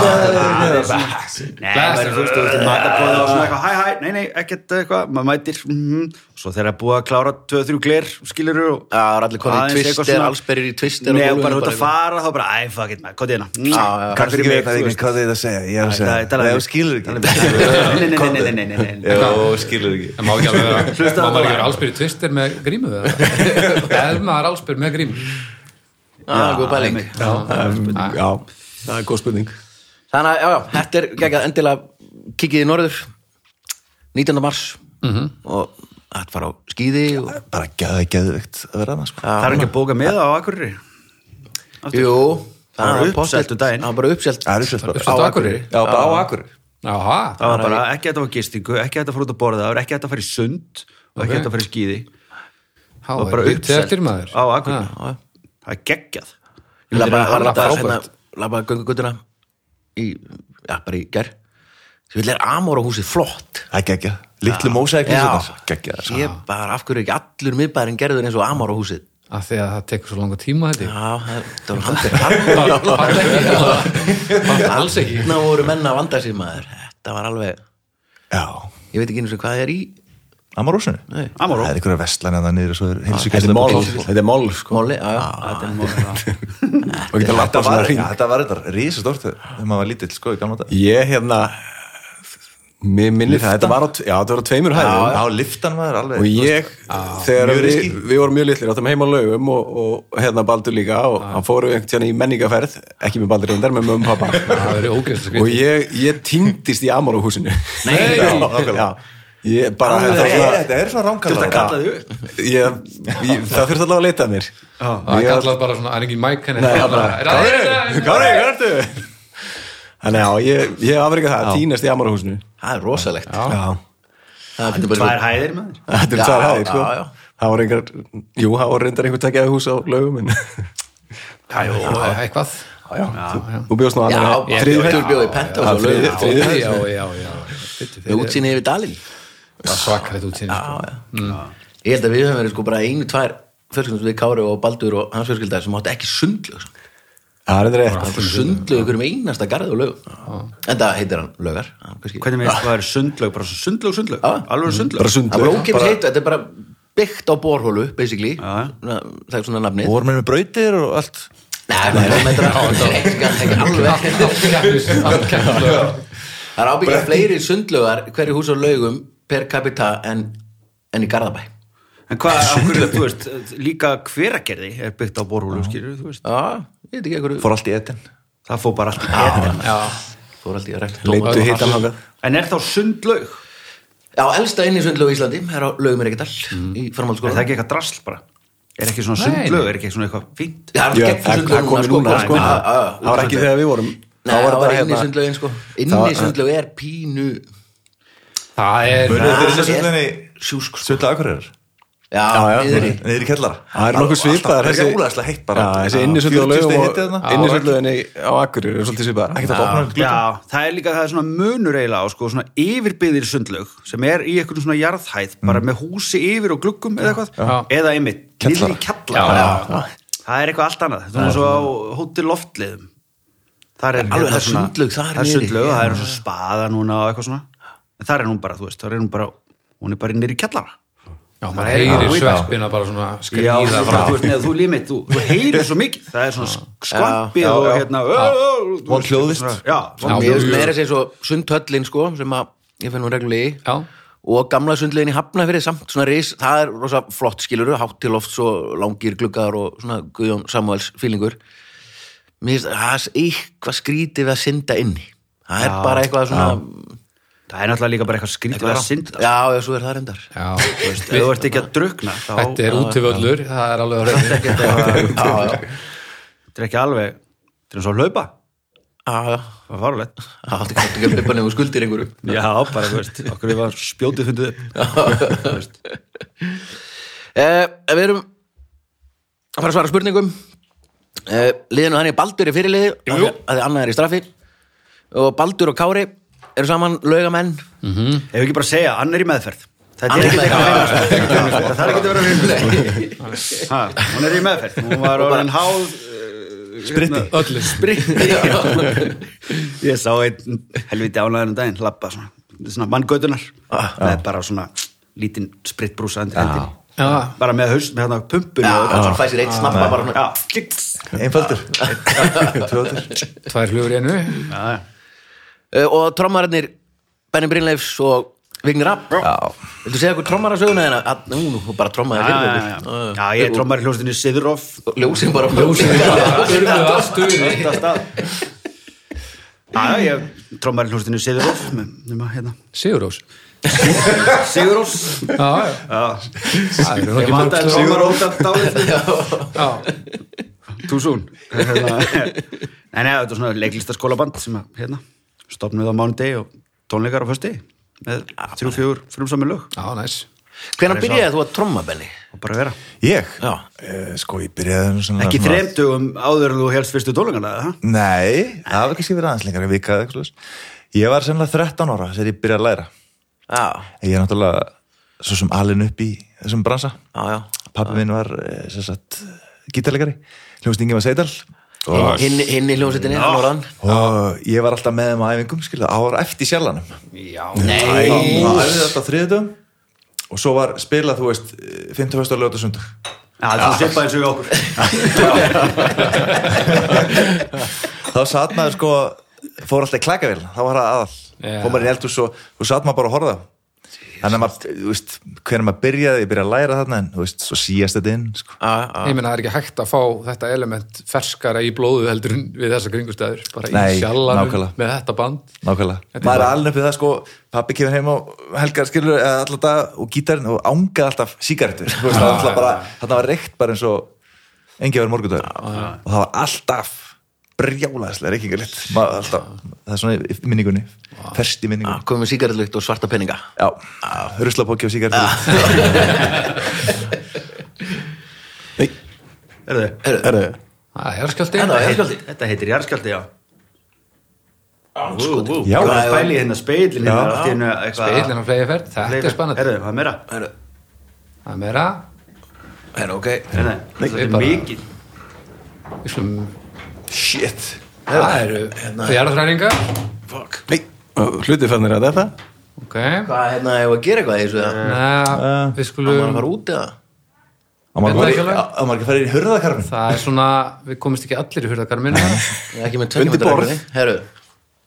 D: Blessaður
C: Nei, maður er, þú veist, þú veist, matabóðið og svona eitthvað, hæ, hæ, nei, nei, ekkert eitthvað, maður mætir, mhm, svo þegar er búið að klára tvö, þrjú gler, skilur þú,
A: Já, það er allir konir í twister, allsberir í twister og
C: Nei,
A: gólfinu
C: og bara
A: bara
C: út að
A: eitthvað.
C: fara, þá bara, æ, fuck it, maður, kotið hérna,
D: Kanski ekki veit að ég hvað þið að segja Ég er um að segja, það er skilur ekki
C: um- Nei, nei, nei, nei, nei, nei, nei, nei.
D: Jó, skilur ekki
B: En má ekki alveg vera,
C: Hlustaðu
B: má maður
C: á
B: ekki
C: það.
B: vera allsbyrði tvistir með grímu við það? Ef maður er allsbyrði með grímu.
A: Já, góð pæling.
C: einmitt.
E: Já, það er góð spurning
A: Þannig að, já, já, þetta er geggjað endilega kikið í norður 19. mars og þetta fara á skýði og,
D: Bara gæði geðvikt að vera annars sko.
C: Það er ekki að bóka með það á Akureyri
A: Jú,
C: Það var
A: var
C: uppselt um daginn.
A: Það var bara uppselt
D: Það er uppsett bara
B: Uppsett á Akureyri?
D: Já, bara á Akureyri
B: Jáha,
C: Það var bara ekki hægt að það var gistingu, ekki hægt að fara út að borða það, ekki hægt að fara í sund og ekki hægt að fara í skýði
B: þá
C: Það var
B: er
C: bara
B: þetta
C: uppselt
B: eftir maður.
C: á Akureyri
A: Ah.
B: Ha,
C: Það er geggjað Ég myndi að-
A: Labbaði
C: að-
A: labba,
B: frábært.
A: hérna, labba göngugutuna í, já, bara í ger Þú vil er Amor á húsið flott
D: Það er geggja Littlu mósæk Geggja sko.
A: Ég bara, af hverju er ekki allur miðbærin gerður eins og Amor á húsið
B: Af því að það tekur svo langa tíma þetta.
A: Já, það var handið
B: Panta ekki. Panta alls ekki.
A: Ná voru menna að vanda sér maður Þetta var alveg,
D: Já
A: ég veit ekki einu sem hvað er í
D: Amarósinu
A: Nei.
C: Amaró.
D: Það er einhverja vestlæna þannig niður og svo er
E: Þetta
D: heilsugæsla
E: er
D: með
E: mál,
D: bíl.
E: þetta er mál sko
A: Móli, já, já
C: Þetta er mál-
E: Og geta
D: Þetta
E: lappa svona
D: var,
E: hring
D: ja, þetta var þetta risastort þegar maður var lítill sko í gamla dag
E: Ég hérna Mér minnir það, þetta var á, t- já, þetta var á tveimur hæðum
D: Já, liftan maður alveg
E: og ég, þegar
D: Mjög
E: við,
D: riski.
E: við vorum mjög litlir áttum heim á laugum og, og hérna Baldur líka og hann fóru einhvern tíðan í menningaferð ekki með Baldur reyndar, með mömmu og pappa
B: Það er ógeðslega
E: og
B: skrið.
E: ég, ég týndist í Amor á húsinu
B: Nei.
E: já, já, ég bara
D: Þetta
E: þetta
D: er-
E: var
D: Þetta er svona
C: Þetta
D: ránkalla
C: kallaði upp
E: ég, ég, það þurfti allavega að leita að mér
B: Ah. Það er kallað bara svona, það er engin mæk henni.
E: Nei, bara,
B: Það er þetta.
E: Kári, hvað ertu? Þannig já, ég, ég afrika það, týnast í Amor á húsinu
A: Það er rosalegt
E: já,
A: Það er
C: Tvær
A: bara
C: hæðir maður
E: þetta er
A: Já,
E: tvær hæðir
A: já,
E: sko.
A: já.
E: það var einhver, jú, það var reyndar einhver tekjaði hús á laugum en
B: Já, Eitthvað.
E: þú bjóst nú
A: Já,
E: annar
A: þriðfjöldur bjóði penta og svo
E: þriðju-
A: lögum
E: þriðju-
B: Já, já, já, já. Biddu fyrir.
A: Með útsýni yfir dalinn
B: Það er Svakalegt útsýni. sko.
A: Ég held að við höfum verið sko bara einu, tvær fjölskyldum við Kári og Baldur og hans fjölskylda sem áttu ekki sundlög sko.
E: það er þetta rétt
A: Það er sundlög ykkur með einasta garð og lögum En það heitir hann lögar hann kannski-
C: Hvernig með það er sundlög, bara svona sundlög, sundlög
A: Já.
C: Alveg sundlög
E: bara
A: Það er
E: sundlaug
A: ókipis heitu, þetta er bara byggt á borhólu basically,
C: Já.
A: Svona- það er svona nafnið
D: og voru með brautir og allt
A: Nei, nei, nei, þetta er ekki- ekki alveg
B: Allt keppnis, allt keppnis.
A: Það er ábyggja fleiri sundlögar hverju hús og lögum per capita en, en í Garðabæ
C: En hvað, af hverju, þú veist, líka hveragerði er byggt á borhúlu, skilur, þú veist
A: Já, ég veit ekki hverju
D: fór allt í etin
C: Það fór bara allt í etin
B: Já.
A: Fór alltaf í rætt
E: leittu hittan hann
C: En er þá sundlaug?
A: Já, elsta inn í sundlög í Íslandi er á lögum er ekki dal
E: Mm.
A: í
C: Er það
A: framhaldsskóla
C: ekki eitthvað drasl bara? Er ekki svona
B: Nei.
C: sundlaug, er ekki svona eitthvað fínt?
A: Já,
E: Já,
A: gegn
E: það- það
A: sundlaugum
E: komi núna,
A: sko.
E: sko.
A: Já, já, já.
E: það var ekki þegar við vorum
A: Nei, það var inn í
E: hérna-
A: sundlögin sko
E: Það
A: Inn
E: var-
A: í sundlög er pínu
B: Það er...
D: Munið þið
A: það
D: þessu
A: er-
D: sundlöginni
A: sjúsk sko
D: Svölda Akureyrar
E: Já,
A: Já,
E: já.
A: niður í
D: niður í kellara
E: Það er nokkuð svipaðar
D: Það er ólega heitt bara
E: Já, þessi innisöldu á
D: 40
E: laugum
D: stig
E: og
D: hiti þarna.
E: innisölduðinni á akkur er svolítið svipaðar
D: Ekkert að opna um gluggann.
C: Já, það er líka það er svona munur eiginlega á sko, svona yfirbyðir sundlaug sem er í einhvern svona jarðhæð
A: Mm.
C: bara með húsi yfir og gluggum eða eitthvað
B: Já.
C: eða einmitt, niður í kjallara það er eitthvað allt annað þetta er svona svo á hóti loftliðum það er hérna
A: Alveg, það er sundlaug þar
C: það er
A: niðri.
C: sundlaug, það er svona spaða núna og eitthvað svona en það er hún bara, þú veist, það er hún bara hún er bara niður í kjallara
B: Já,
C: Það
B: maður
C: er
B: heyrir
C: já.
B: sveppina bara svona
C: Já, þú
B: skrýða
C: veist,
B: frá.
C: þú veist, neða, þú limit, þú, þú heyrir svo mikið það er svona sk- skvampið og hérna ö, ö, ö, þú
D: Von
C: veist,
D: hljóðvist.
C: svona- Já,
A: Já,
C: von-
A: mér finnst meira að segja svo sundhöllin sko sem að ég finn nú reglulegi
B: Já.
A: og gamla sundlegin í Hafnafyrði samt svona ris, það er rosa flott skiluru hátt til oft svo langir gluggar og svona Guðjón Samuels fílingur mér finnst það er eitthvað skrítið við að synda inni það er bara eitthvað svona
C: það er náttúrulega líka bara eitthvað skrítið að synda
A: já, já, svo er það reyndar
B: Já,
C: Þú veist, ef þú ert ekki að drukna þá
B: þetta er útivöllur, það er alveg að reyna.
A: já, já,
C: þetta er ekki alveg þetta er svo að hlaupa,
A: já, já
C: það var farulegt
A: það átti ekki að hlaupa nefnum skuldir einhverju
C: já, bara, þú veist, okkur við var spjótið fundið
B: Mm.
C: upp
A: eh, við erum að fara að svara spurningum eh, liðinu þannig að Baldur er fyrirliði af því að því annað er í straffi og Baldur og Kári eru saman laugamenn
C: ef ekki bara að segja, annar í meðferð þetta er ekki eitthvað vinnu það er ekki að vera vinnu hún er í meðferð, hún var orðin háð eh,
D: Spritti.
B: öllu
C: ég sá einn helviti ánæðan um daginn lappa svona, svona manngötunar
B: Ah,
C: það er bara svona lítinn spritbrúsa undir hendinni
B: Já.
C: bara með haust, með hérna hann pumpun
A: Svo fæ sér eitt snappa bara svona
D: Einfaldur Tvöldur
B: tvær flugur í einu
A: Eh, Og trommararnir Benny Brynleifs og Vignir Rapp Viltu segja eitthvað trommarasöguna þeirna? Að- Nú, nú, bara trommaði fyrir okkur Eh,
C: já, ég trommar í hljóstinni Siðurov
A: Ljósin bara
B: ljósið er bara urðu að stuði
C: já, ég trommar í hljóstinni Siðurov nema hérna
B: Sigurós
C: Sigurós
B: já, já. það eru nú
C: ég
B: ekki mörg
C: vantaði
B: slög.
C: trommar út af dálítið
B: Já.
C: too soon Hérna, en já, þetta er svona leiklistaskólaband sem að, hérna, stopnum við á mánudegi og tónleikar á fösti með þrjú, fjögur, frumsamir lög
B: já, næs
A: Hvernig byrjaði þú að tromma, Benny?
C: og bara vera.
D: Ég?
A: Já.
D: Eh, Sko, ég byrjaði svona-
C: Ekki
D: svona-
C: þrem dögum áður en þú helst fyrstu tónleikana, eða? það?
D: Nei, það var kannski verið aðeins lengar en vika eða eitthvað svoleiðis. Ég var sennilega 13 ára þegar ég byrjaði að læra
A: Já,
D: Ég er náttúrulega svo sem alin upp í þessum bransa
A: já, já
D: Pappi minn var eh, sem sagt gítarleikari Hljómsnýngi Ingi var Seidal og,
A: Hinn hinn í hljómsveitinni, hann voru hann
D: og ég var alltaf með þeim á æfingum skilja, ára eftir sjálfanum
A: Nei,
D: Það er þetta þriðutum og svo var spilað, þú veist, 51. og lögta sundag
C: Já, það er svipað eins og við okkur.
D: þá satt maður sko fór alltaf í klakavél, þá var það aðall
B: Já.
D: fór maður í eldhús og þú satt maður bara að horfa á. þannig að maður, þú veist hvernig maður byrjaði, ég byrjaði að læra þarna en þú veist, svo síast þetta inn sko.
B: ég meina það er ekki hægt að fá þetta element ferskara í blóðu heldur en við þessa kringustæður bara
D: Nei,
B: í sjallanum
D: nákvæmlega.
B: með þetta band
D: nákvæmlega,
B: Þetta er
D: maður er
B: bara-
D: alveg uppið það sko pappi kemur heim og helgar skilur eða alltaf dag og gítarinn og ángaði alltaf sígarettur, þú veist, það var alltaf bara þarna var reykt bara eins og engi verið morgundöður og það var alltaf brjálæðislega reykingarlitt Maður alltaf, það er svona í minningunni ferst í minningunni
A: komum við sígaretlugt og svarta peninga
D: Já, ruslapokki og sígarettur
B: Ah,
C: Erðu,
E: Herru,
B: það er skjöldi
A: En það er
C: þetta,
A: skjöldi
C: þetta heitir jarðskjaldi, já.
B: Sko,
C: Vú, vú. Já,
D: Já.
C: það er bæli hérna speilin hérna, allt í hennu eitthvað.
B: speilin á flegiferð, þetta er spennandi
C: Erðu, hvað er meira?
A: Herru,
B: það er meira,
A: herru, ok
C: Nei,
B: Nei,
C: þetta er
B: bara-
C: mikið.
B: við slum
D: Shit
B: það eru fjarafræningar
A: Fuck
E: nei, hluti fannir að þetta
B: ok,
A: Hvað, hérna, hefur að gera eitthvað í þessu
B: Eh,
A: það?
B: Næ,
E: Eh,
B: við
A: Var að
B: skulum
A: fara út eða?
D: Á maður
B: Þetta
D: ekki
B: ekki
D: að
B: alveg?
D: á- á maður ekki að fara inn í hurðakarfin
B: það er svona, við komumst ekki allir í hurðakarminu
A: Ég er Ekki með tveggja
E: Undir
A: metra
E: borð.
A: reglunni. Herru,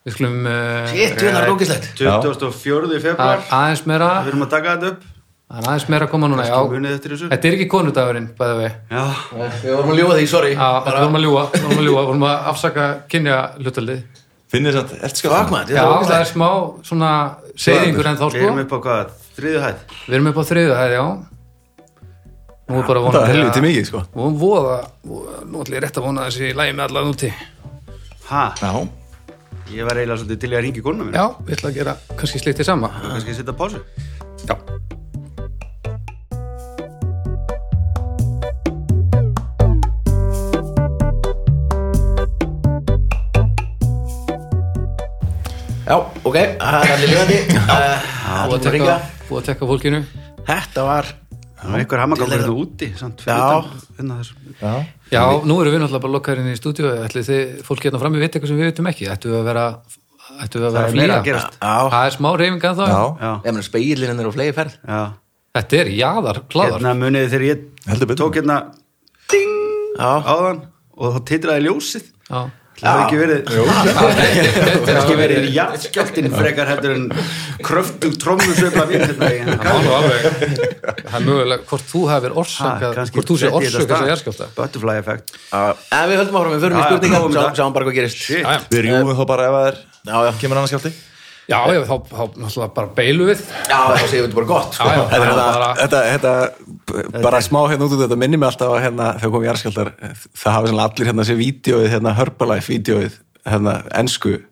B: við skulum uh,
A: shit, þú hérna er rókislegt
C: 24.
B: það
C: februar,
B: er aðeins meira
C: við erum að taka þetta upp.
B: það er aðeins meira að koma núna, já
C: munið eftir þessu.
B: þetta er ekki konudagurinn, bæða við
C: Já,
A: Eh, Við vorum að ljúa því, sorry
B: Já, við vorum að ljúa, við vorum að ljúa, við vorum að afsaka kynja hlutaldið.
D: Finnir samt, sko. ertu skjátt
A: Fuck, maður,
B: Já,
A: þetta er
B: það
A: rókislegt
B: er smá svona seyðingur en þá
C: við
B: sko.
C: erum upp á hvað, þriðu hæð.
B: Við erum upp á þriðu hæð, já. Nú er bara
E: Það
B: vonandi
E: er helviti mikið, sko.
B: Nú er voða, voða- nú ætlum ég rétt að vona að þessi lægi með alla núti.
C: Ha,
D: Já,
C: ég var eiginlega svolítið til í að ringi konuna mín.
B: Já, við ætlum að gera kannski slítið sama.
C: Kannski að setja pásu.
B: Já.
A: Já, ok, Eh, það er allir ljúandi Það
B: Búið
A: er
B: að
A: ringa
B: tekka, búið að tekka fólkinu.
A: Þetta var
C: Það var einhver hamagangur hérna úti samt, fyrir
A: Já.
C: utan, hérna þessu.
D: já
B: Já, nú erum við náttúrulega bara lokkaðir inn í stúdíu. Ætli þið, fólk hérna frammi veit eitthvað sem við vitum ekki. Ættu við að vera, ættu við að
C: Það
B: vera
C: er
B: að
C: meira að
B: flýja.
C: gerast.
A: Já,
B: Það er smá reyfinga þá.
D: Já,
C: Já.
A: ég meina speilin er á flegi ferð
C: Já.
B: Þetta er jaðar, kláðar.
C: Hérna muniði þegar ég
D: Heldur betur.
C: tók hérna
A: Já,
C: áðan og þá titraði ljósið.
B: Já.
C: Það hefði ekki verið,
B: Þetta
C: ekki
B: er
C: verið jarðskjáltin frekar heldur en kröftug trommusveifla mín hérna í hérna.
B: Það er alveg, það er mögulega hvort þú hefur orsakað, hvort þú sé orsakað sem jarðskjálta.
C: Butterfly effect.
A: en Eh, við höldum áfram, við förum í
C: Já, já,
A: spurninga
C: komum í dag.
A: Sjáum sjáum bara hvað gerist
C: Shit.
B: Já, já,
D: við
E: Eh.
D: rjúum þá bara ef það er
A: Já, já,
D: kemur annars skjátti
B: já, já, þá, þá náttúrulega bara beilu við.
A: já, þá séum við þetta bara gott
B: Já,
A: sko.
B: já,
E: Þetta,
B: bara-
E: þetta,
B: bara-
E: þetta, þetta bara smá hérna út út þetta minni mig alltaf að hérna, þegar komum jarðskjaldar það hafa svona allir hérna sér vídjóið hérna Herbalife-vídjóið hérna ennsku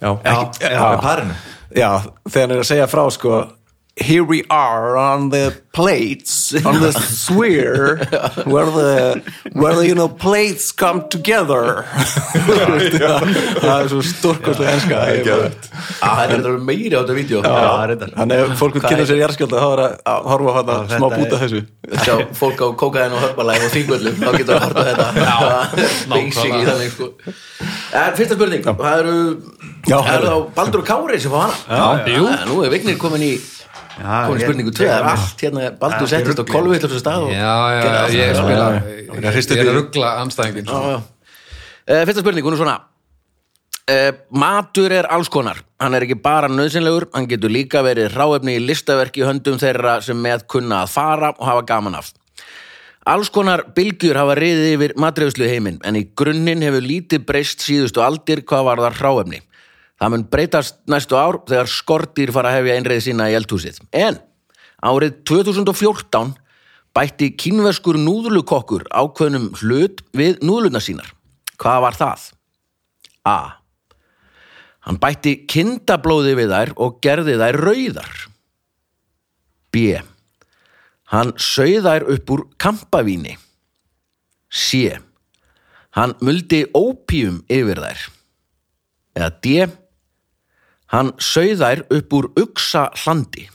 E: já,
D: Ekki- Með parinu
E: já, þegar hann er að segja frá sko here we are on the plates on the sphere where the where the you know plates come together það er svo stórkostlega enska ég bara-
A: Ah, þetta er þetta meiri á þetta vídeo
C: Já, reyndar.
E: þannig að fólk vil kynna sér jarðskjölda þá er að horfa hann að
C: Já,
E: smá
C: þetta
E: búta
C: er-
E: þessu
A: Sjá fólk á kókaðin og hörbalæg og þingvöllum þá getur það hort á þetta basic í
B: nákvæmlega.
A: þannig sko en fyrsta spurning, það eru
E: Já,
A: það eru
E: herðu.
A: þá Baldur og Kári sem fá hana
B: Já, jú.
A: Ah, nú er Vignir komin í komin í
C: Ah, ég-
A: spurningu 2 það er allt hérna Baldur settist á kolvið til þessu stað og
B: Já, já,
A: gerði allt.
B: ég spila
E: já.
B: Ég ég er að ruggla anstæðingin
A: Já, já. Eh, Fyrsta spurning, hún er svona eh, Matur er alls konar Hann er ekki bara nöðsynlegur Hann getur líka verið ráefni í listaverki í höndum þeirra sem með kunna að fara og hafa gaman af Alls konar bylgjur hafa riðið yfir matriðuslu heiminn en í grunninn hefur lítið breyst síðustu aldir hvað var það ráefni. Það mun breytast næstu ár þegar skortýr fara að hefja einreið sína í eldhúsið. En árið 2014 bætti kínverskur núðlukokkur ákveðnum hlut við núðluna sínar. Hvað var það? A. Hann bætti kindablóði við þær og gerði þær rauðar. B. Hann sauðær upp úr kampavíni. C. Hann muldi ópíum yfir þær. Eða D. Hann sauðær upp úr uksa hlandi.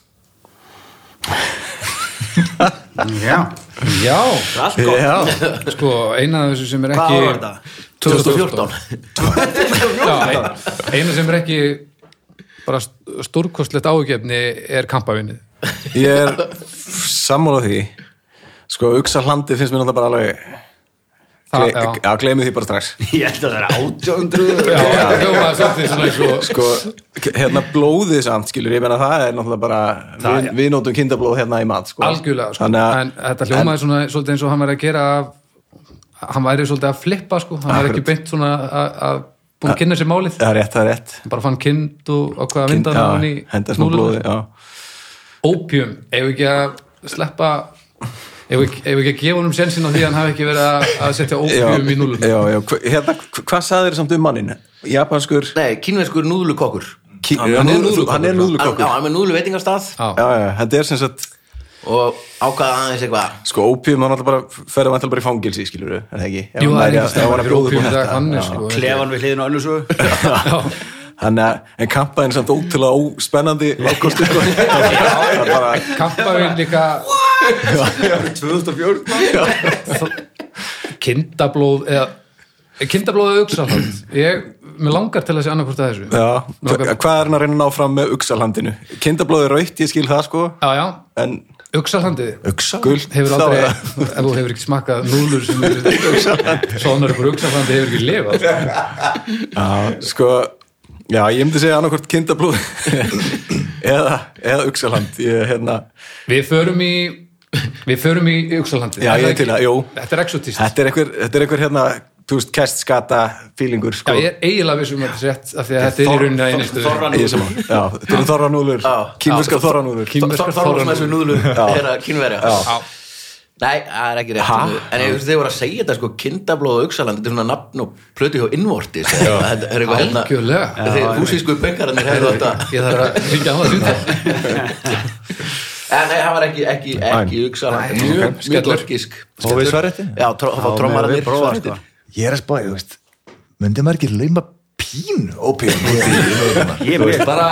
C: Já,
B: Já,
C: allt gott
B: sko, eina af þessu sem er
C: Hvað
B: ekki
C: var þetta?
A: 2014.
B: Já, ein- eina sem er ekki bara st- stórkostlegt áhugjefni er kampavinnið
E: ég er sammála því sko, uksa hlandi finnst mér náttúrulega bara alveg
B: Það,
E: Gle-
B: já,
E: já, gleymið því bara strax
C: Ég held að það er 800
B: já, það hljómaði svolítið svona svo
E: sko, k- hérna blóðið samt skilur, ég menna það er náttúrulega bara við, við notum kindablóð hérna í mat sko.
B: algjörlega, sko,
E: Þannig að-
B: en þetta hljómaði svona svolítið eins og hann væri að gera af, hann væri svolítið að flippa, sko, hann væri ekki beint svona að- að búin að kynna sér málið
E: það er rétt, það er rétt
B: bara fann kind og ákvað að vinda
E: Kind-
B: hann í
E: já, henda smá
B: snúruna.
E: blóði já.
B: Ópjum, ef við ekki að sleppa ef við ekki, ef við ekki að gefa honum sensin á því að hann hafi ekki verið að- að setja
E: Já,
B: ópjum í núlum
E: já, já, hva- hérna, hva- hvað sagðir samt um mannin? japanskur
A: Nei, kínverskur núðlukokkur.
E: ki-
A: hann er núðlukokkur.
E: hann er
A: Hann,
E: núðlukokkur
A: já, hann er núðluveitingastað
B: Já.
E: já, já, þetta er sem sagt
A: og ákvaða aðeins eitthvað.
E: sko ópjum, hann alltaf bara ferðum alltaf bara í fangilsi skilur við, er það ekki? Ef
B: Jú,
E: hann
B: það er ekki
E: væri að- ef hann
B: stefnir
E: var að
B: fyrir
E: bjóða upp á
B: ópjum í dag
E: þetta.
B: hann er
E: Já.
B: sko
C: Klefan við hliðinu önnur svo
E: Þannig að, en kampaðin samt ótrúlega óspennandi valkostu sko. Það er bara,
B: kampavinn líka 2004 kindablóð eða kindablóð eða uksaland ég, mér langar til að sé annarkvort að þessu
E: já, hva- hvað er hann að reyna að ná fram með uksalandinu? Kindablóði raut, ég skil það sko,
B: já, já,
E: en
B: uksalandið
E: Uxaland?
B: hefur aldrei, ef þú hefur ekki smakkað núlur sem er svonar ykkur uksalandi hefur ekki lifað
E: Já, sko, já, ég myndi segja annarkvort kindablóð eða, eða uksaland, ég, hérna,
B: Við förum í Við förum í Uxalandi
E: Já, ég er til að- jú.
B: Þetta er exotist
E: þetta er einhver, þetta er einhver hérna, þú veist, kæstskata feelingur sko.
B: Já, ég er eiginlega vissum að þetta er rétt af því að þetta er í
A: Þor-
B: rauninni að
A: Þor-
B: einustu
A: Þorranúlur.
E: Ég er saman, já, þetta eru þorranúlur,
A: Já.
E: kínverskar þorranúlur.
B: Kínverskar
A: Þor- Þorvaldsmessu núðlu er að kínverja Nei, það er ekki rétt En ég veist þið voru að segja þetta sko kindablóð og auksaland Þetta er svona nafn og plöti hjá innvortis Þetta er eitthvað hérna
B: Algjörlega.
A: Þegar húsísku bengarannir hefðu þetta
B: Ég þarf að ringja á það sínda
A: En Eh, nei, það var ekki, ekki, ekki auksaland Mjög, mjög
B: Skellur.
A: lorkisk
D: Og við svarréttin?
A: Já, tró- þá fá
C: við
A: trommarannir
C: prófa
A: svartir.
C: sko
D: Ég er að spá, ég veist Myndi maður ekki lauma pínu ópíum út í núðluna?
C: Ég veit bara,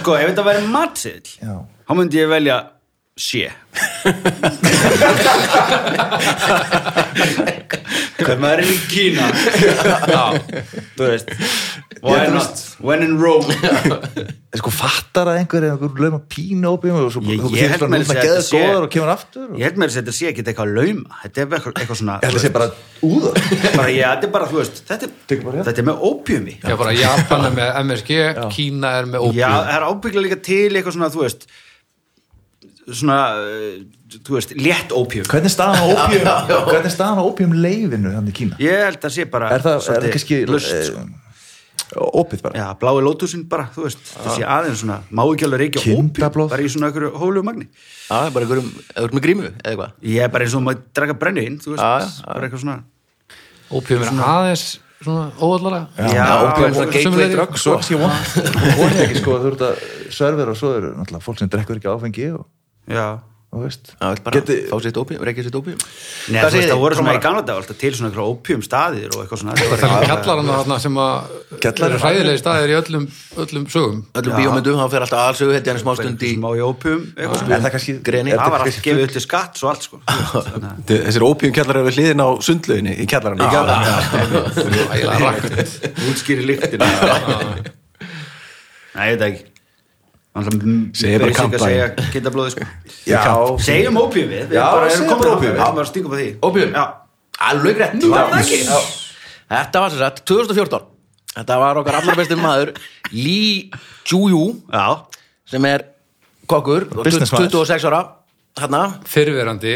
C: sko, ef þetta væri matsill
D: Já.
C: þá myndi ég velja sé Hvað maður er í Kína Þú veist Why not? When in Rome
D: En sko fattar að einhver eða einhver lauma pínu ópíum og svo
C: Ég-
D: þú
C: ég held
D: fyrir
C: meira að
D: að
C: segja
D: geða
C: þetta sé-
D: góðar og kemur aftur og...
C: Ég held mér að þetta sé ekki eitthvað að lauma Þetta er eitthvað, eitthvað svona
D: Ég held að sé bara úðar
C: bara, já, þetta er bara, þú veist, þetta
D: Tekur
C: er,
D: bara, já.
C: þetta er með ópjumi
B: Já, bara Japan er með MSG Kína er með
C: Já, eh,
B: opium
C: það er ábyggla líka til eitthvað svona, þú veist svona, uh, þú veist, létt ópjum
D: Hvernig er staðan á ópíum Hvernig er staðan á ópíum leifinu hann í Kína?
C: Ég held að sé bara
D: Er það, er það
C: svolítið
D: kannski
C: laust,
D: eh,
C: sko.
D: Ópið bara?
C: Já, blái lótusinn bara, þú veist Það
D: Ah.
C: sé aðeins svona, má ekki alveg reykja ópjum
D: Kindablóð.
C: Bara í svona einhverju hólu magni
A: Já, það er bara einhverjum, eða þú ert með grímu eða eitthvað
D: Ah,
C: Ég er bara eins og maður draga brenni inn, þú veist
A: Já, já, já.
C: Bara eitthvað svona
B: Opium er aðeins svona óallalega
C: Já,
A: og það er
C: og-
A: svona gateway
B: sömuleiðis.
A: drug
D: Svo ekki ég vant Vont ekki sko þú ert að servera og svo eru náttúrulega fólk sem drekkur ekki áfengi og,
C: Já.
D: og veist
A: Já, vill bara
D: Geti-
A: fá sér dópi, reykja sér dópi
C: Nei, þú veist, það voru svona í gamla dag alltaf til svona einhverja ópjum staðir og eitthvað svona
B: það er kjallarana þarna sem að
D: Kjallarinn.
B: eru hræðilegi staðir í öllum, öllum sögum
A: Öllum bíómyndum, hann fer alltaf aðalsögu, hetja hann smá stund í
C: Smá í ópjum, eitthvað
D: En
C: svona
D: Ah. það kannski
A: Greni.
D: þetta
C: Það var allt
D: kannski-
C: gefið upp til skatts og allt, sko Þannig að-
E: Þessir ópíum kjallar eru hliðin á sundlöginni í kjallarinn. Í kjallarinn.
B: ægilega rakkut
C: útskýri lyktina Nei, ég veit það ekki
E: Segir
C: Basic
E: bara
C: að
E: kampavín.
C: segja geta blóði sko
D: Já,
C: Segjum ópjum við, við
D: Já,
C: bara erum
D: segjum
C: komin
D: ópíum.
C: Já, bara stingum á því
A: Ópíum?
C: Já,
A: Alveg rétt
C: var það ekki.
A: Já. Þetta var sem sagt 2014 Þetta var okkar allar besti maður Lee Juju
C: já,
A: sem er kokkur og
D: Businessmaður.
A: 26 ára hérna,
B: fyrrverandi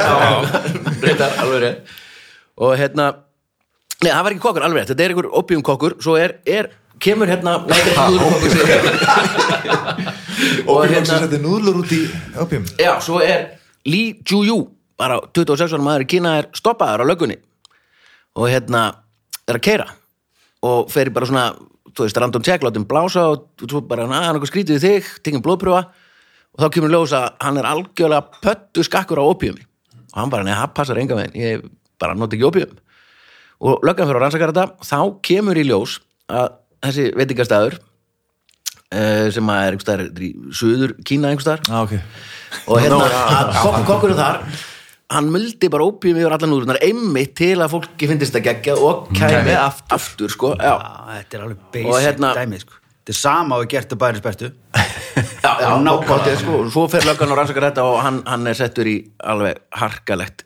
A: reyndar alveg rétt og hérna Nei, það var ekki kokkur, alveg rétt, þetta er einhver opium kokkur svo er, er kemur hérna Nei, þetta er núðlukokkur hérna- segir- og
D: Ópjum sem
A: hérna,
D: setti núðlur út í ópjum
A: já, svo er Lee Juju, bara 26 ára maður í Kína er stoppaður á löggunni og hérna er að keira og fer í bara svona þú veist, random check, látum blása og þú bara, na, hann er eitthvað skrítið í þig, tingum blóðpröfa og þá kemur ljós að hann er algjörlega pöttu skakkur á opiumi og hann bara, neða, það passar enga veginn ég bara nota ekki opium og löggan fyrir að rannsaka þetta, þá kemur í ljós að þessi veitingastæður eh, sem að er einhvers staðar í suður Kína einhvers staðar
D: Já, ok
A: og hérna, að kokk- kokkurinn þar hann muldi bara ópjum yfir allan úr einmitt til að fólki finnist það geggja og kæmi aftur, aftur sko,
C: já,
A: já,
C: þetta er alveg
A: Og
C: basic
A: hérna-
C: dæmi, sko Þetta er sama og gert að bæris bestu
A: já, já
C: nákvæmlega.
A: nákvæmlega sko, og svo fer löggan og rannsakar þetta og hann, hann er settur í alveg harkalegt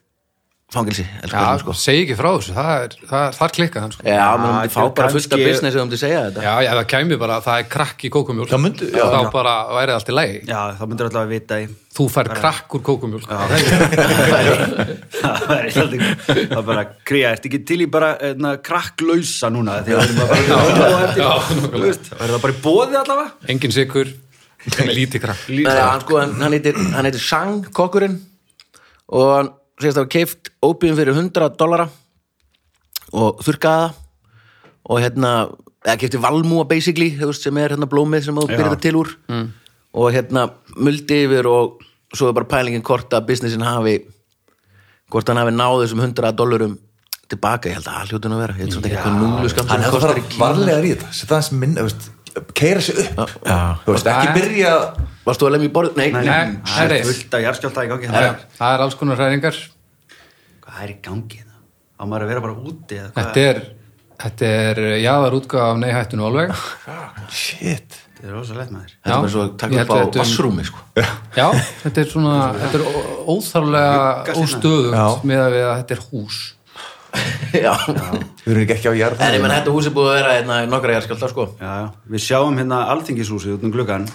A: fangilsi já,
B: Já,
A: sko.
B: segi ekki frá þessu, það er, það, þar klikkað hann sko.
A: já, menn um
C: Já,
A: þið fá bara fullt af
C: kannski-
A: business um þið segja þetta
B: Já, já, það kæmi bara, það er krakk í kókumjólk
D: Það myndi- já.
B: Þá bara væri það allt í lagi
C: Já, þá myndir alltaf að vita í
B: Þú fær krakk úr kókumjólk
C: það er eitthvað það er bara kriða, ertu ekki til í bara eitna, krakklausa núna því að það er bara á eftir, þú veist, það er það bara í bóði allavega
B: Engin sikur, lítið krakk
A: Nei, já, hann, sko, hann, hann, heitir, hann heitir Sang kokkurinn og hann segist að hafa keift ópjum fyrir 100 dollara og þurrkaða það og hérna, eða kefti valmúa basically, þú veist, sem er hérna blómið sem þú byrðir þetta til úr og hérna muldi yfir og svo er bara pælingin hvort að businessin hafi hvort hann hafi náð þessum 100 dollurum tilbaka, ég held að það hljóti nú að vera ég held samt ekki eitthvað núlu skamt
D: Hann hefði að fara varlega í þetta Sett aðeins minn, þú veist Keira sig upp Þú veist,
B: Já.
D: ekki byrja
A: Varst þú að lemja í borð? Nei,
B: Nei, það er
C: það er
B: reis
C: fullt af jarðskjálta í gangi það
B: Já,
C: er-
B: Það er alls konar hræringar
C: hvað er í gangi það? á maður að vera bara úti eða hvað
B: Þetta er, þetta er jáðar útgáð af neihættinu alveg
D: Shit
C: þetta er rosalegt maður
A: Þetta er bara svo að taka upp á vassrúmi sko.
B: Já, þetta er svona, þetta er ó- óþarflega
C: Huggast hérna.
B: óstöðugt með að við að þetta er hús
A: Já,
D: Við erum ekki ekki á jarð
A: En ég menn þetta hús er búið að vera hérna, í nokkra jarðskjálta sko.
C: já, já. við sjáum hérna alþingishúsið út um gluggan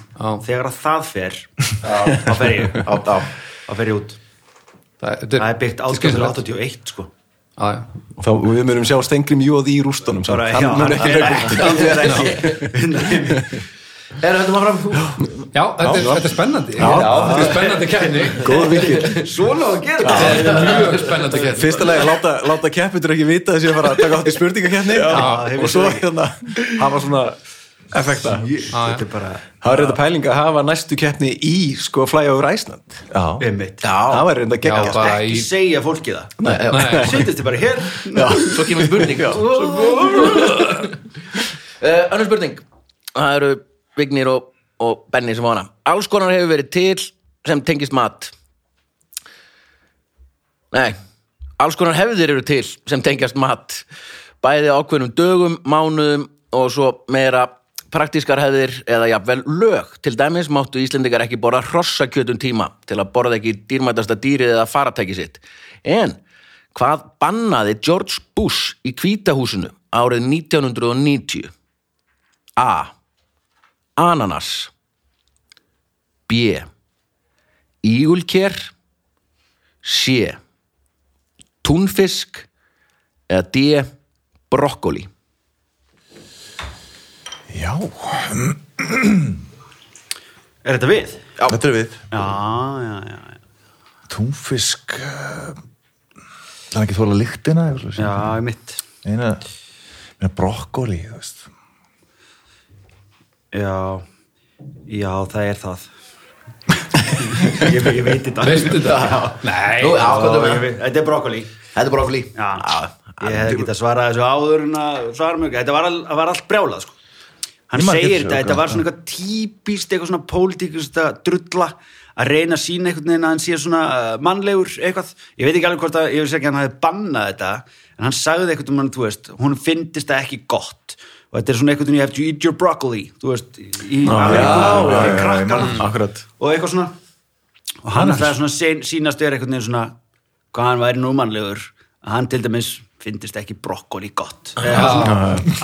C: þegar að það fer þá fer ég
A: Já, já.
C: þá fer ég út
B: Það þetta
C: það er byggt
B: þetta er skemmtilegt.
C: 1881 sko
B: Já, já.
E: Og þá við mörgum sjá Stengrim Jóð í rústunum.
C: bara,
E: samt. Hann mun ekki reyna.
C: ekki
A: Er þetta maður fram?
B: Já, þetta er- þetta er spennandi Þetta er spennandi kefni
E: Góður vikil.
C: svona að gera þetta
B: Þetta er mjög spennandi kefni
E: Fyrsta lagi láta, láta keppendur ekki vita þessi að fara að taka átt í spurningakeppni og svo hérna hafa svona effekta.
C: þetta er bara
E: Það er reynda pæling að hafa næstu keppni í sko fly over Iceland.
D: Já
C: Einmitt.
E: Það var reynda
B: Já,
E: geggjast.
B: bara
C: ekki
B: í
C: segja fólki það
B: Nei.
C: setjast þið bara hér
A: Svo kemur spurning Eh, Önnur spurning Það eru Vignir og, og Benni sem á hana Alls konar hefur verið til sem tengist mat Nei Alls konar hefðir eru til sem tengjast mat Bæði á ákveðnum dögum, mánuðum og svo meira praktískar hefðir eða jafnvel lög til dæmis máttu Íslendingar ekki borða hrossakjötum tíma til að borða ekki dýrmætasta dýrið eða faratæki sitt en hvað bannaði George Bush í kvítahúsinu árið 1990 A. Ananas B. Ígulker C. Túnfisk eða D. Brokkoli
D: Já,
C: er þetta við?
D: þetta er við
C: já, já, já, já,
D: Túnfisk eh, Það er ekki þóla lyktina eitthvað svoleiðis.
C: já mitt
D: eina, eina brokkoli þú veist
C: Já, já, það er það ég, ég veit þetta
B: Veistu þetta?
A: Nú,
B: Nei,
A: já, hvað
C: Já,
A: er
C: ég
A: það?
C: veit- Þetta er brokkoli
A: Þetta er Ah, bara flý
C: Já, ég hefði getað svarað þessu áður en að svara mjög Þetta var, all, var allt brjálað sko. Hann
D: Ég man
C: segir
D: fyrir
C: þetta,
D: þessu,
C: þetta
D: ok.
C: var svona eitthvað típist eitthvað svona pólitíkust að drulla að reyna að sína einhvern veginn að hann sé svona uh, mannlegur eitthvað, ég veit ekki alveg hvort að ég veist ekki að hann hafi bannað þetta en hann sagði eitthvað um hann, þú veist, hún finnist það ekki gott og þetta er svona eitthvað you have to eat your broccoli, þú veist í Ameríku, í krakkanum
D: akkurat
C: og eitthvað svona og hann ætlaði svona sín, sínast er einhvern veginn svona hvað hann væri númannlegur að hann til dæmis finnist ekki brokkoli gott Eða svona,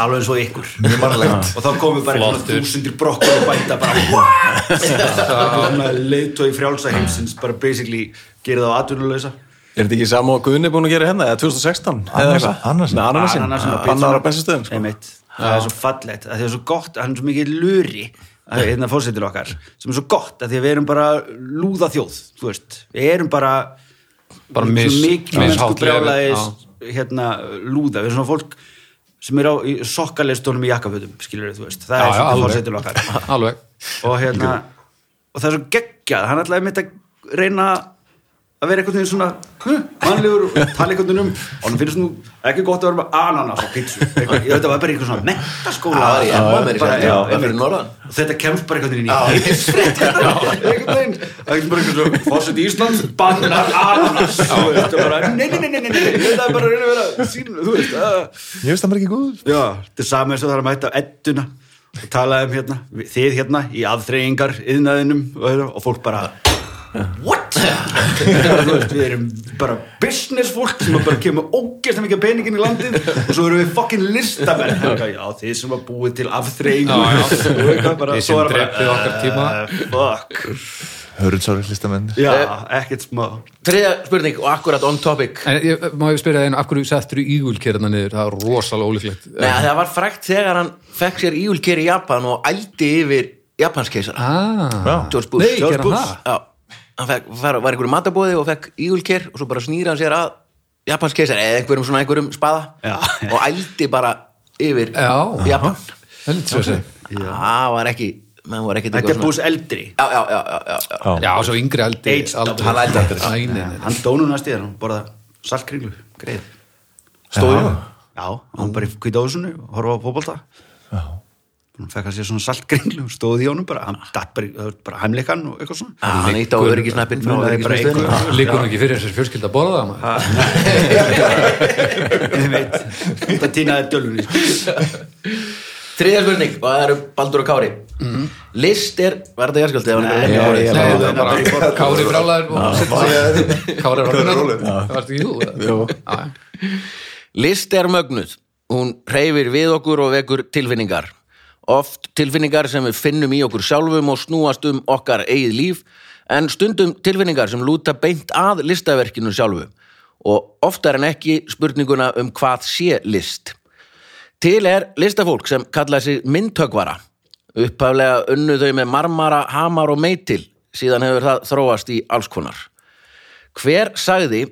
C: alveg eins og ykkur
D: Ah. mjög mannlegt
C: og þá komu bara einhvern
B: Flottur.
C: þúsundir brokkoli bænda bara what leiðtói frjálsa heimsins bara basically gerði þá atvinnulegsa
F: Er þetta ekki sama og Guðni búin að gera hérna, eða 2016? eða
D: Ananasin-
F: eitthvað?
D: ananasin.
F: Nei, Ananasin.
B: Ah,
F: Bannar á bensistöðum, sko.
C: einmitt, það er svo fallegt að það er svo gott, hann er svo mikið luri að hérna fórsetil okkar, sem er svo gott að því að við erum bara lúða þjóð þú veist, við erum bara
B: Bara mis-
C: svo mikið
B: mishátlega,
C: mennsku brjálaðis hérna lúða, við erum svona fólk sem er á sokkaleistónum í jakkafötum skilur þú veist,
B: Já,
C: það er
B: já,
C: svona
B: alveg.
C: fórsetil okkar
B: alveg
C: og hérna og það er svo geggjað, hann ætlaði mitt að reyna að vera einhvern veginn svona huh, mannlegur og tala einhvern veginn um og hann finnst nú ekki gott að vera með ananas á pítsu, eitthvað, ég veit að það var bara einhvern svona mentaskóla
A: Já, já, já,
C: Bara,
A: meira sér, já,
C: einmitt.
A: fyrir norðan.
C: Og þetta kemst bara einhvern veginn í heimsfrétt einhvern veginn, það er bara einhvern veginn fósitt í Ísland, bannar ananas þú veist, og bara, nei, nei, nei, nei, nei, nei það er bara að reyna að vera sín, þú veist að
D: ég veist það mér ekki góð
C: Já, þetta er sama eins og það er að mæta á edduna og tala um hérna, við- þið hérna í aðþreyingar yðnaðinum og, og fólk bara What? Þú veist, við erum bara business fólk sem bara kemur ógeðslega mikið af peningin í landið og svo erum við fucking listamenn Eitthvað, Já, þið sem var búið til aðþreyingu
B: Já, já. Þið sem
C: Þið
B: drepið okkar tíma.
C: Eh, Fuck
D: hörundsári hlistamenn
C: Já,
B: Eh.
C: ekkert smá
A: Þriðja spurning og akkurat on topic
B: En ég, má ég spyrja það einu, af hverju settur þú ígulkerna niður? Það er rosalega ólíklegt
A: Nei, það var frækt þegar hann fekk sér íulker í Japan og ældi yfir japanskeisar
B: Ah,
A: George Bush
B: Nei,
A: George
B: gerði hann
A: Bush
B: það?
A: Já, hann fekk, var, var einhverjum matabóði og fekk ígulker og svo bara snýra hann sér að japanskeisar eða einhverjum svona einhverjum spaða
C: Já.
A: og ældi bara yfir
B: Já.
A: Japan
B: það er lítið svo að segja.
A: Það var ekki, menn var ekki
C: Þetta er búið eldri
A: Já, já, já, já, já, já.
B: Já, svo yngri aldi
C: Age double.
B: Hann aldi aldrei Æ, nei, nei, nei.
C: Hann dónu næst í þér, hann borða saltkringlu Greið
D: stóðu já.
C: Já, hann bara í kvítáðsunu, horfa á fótbolta Hún fekk hann sér svona saltgringlu og stóð í honum bara, hann datt bara, í- það var bara heimleikan og eitthvað svona
A: Ah, hann ítt á öryggisnappin frá
C: Munaði bara
A: öryggisnappin
C: engu.
B: Liggur hann ekki fyrir þessari fjölskylda að borða það maður?
C: Ég veit, það týnaði dölunni
A: Þriðja spurning, og það eru Baldur og Kári List er, var þetta jarskjöldi? Mhm. Nei,
B: Nei, það var
C: bara í
B: bara
C: borða.
B: Kári brálaður og sitt sig Kári var
D: rólegur.
B: rólaður Það varst ekki þú? eða? Já, já.
A: List er mögnuð, hún reyfir við okkur og vekur tilfinningar. Oft tilfinningar sem við finnum í okkur sjálfum og snúast um okkar eigið líf, en stundum tilfinningar sem lúta beint að listaverkinu sjálfu og oftar en ekki spurninguna um hvað sé list. Til er listafólk sem kallaði sig myndtökvara. Upphaflega unnu þau með marmara, hamar og meitil, síðan hefur það þróast í alls konar. Hver sagði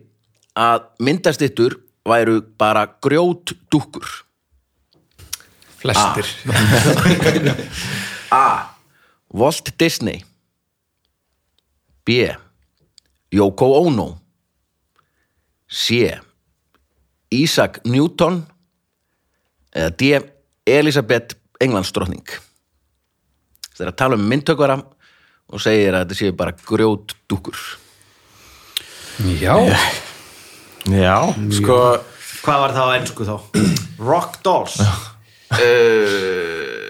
A: að myndastittur væru bara grjót dúkkur?
B: Flestir
A: Walt Disney B. Yoko Ono C. Isaac Newton eða D. Elisabeth Englandsdrottning Þetta er að tala um myndtökvara og segir að þetta séu bara grjót dúkkur
B: Já,
F: Já, sko,
C: Hvað var það á ennsku þá? Rock Dolls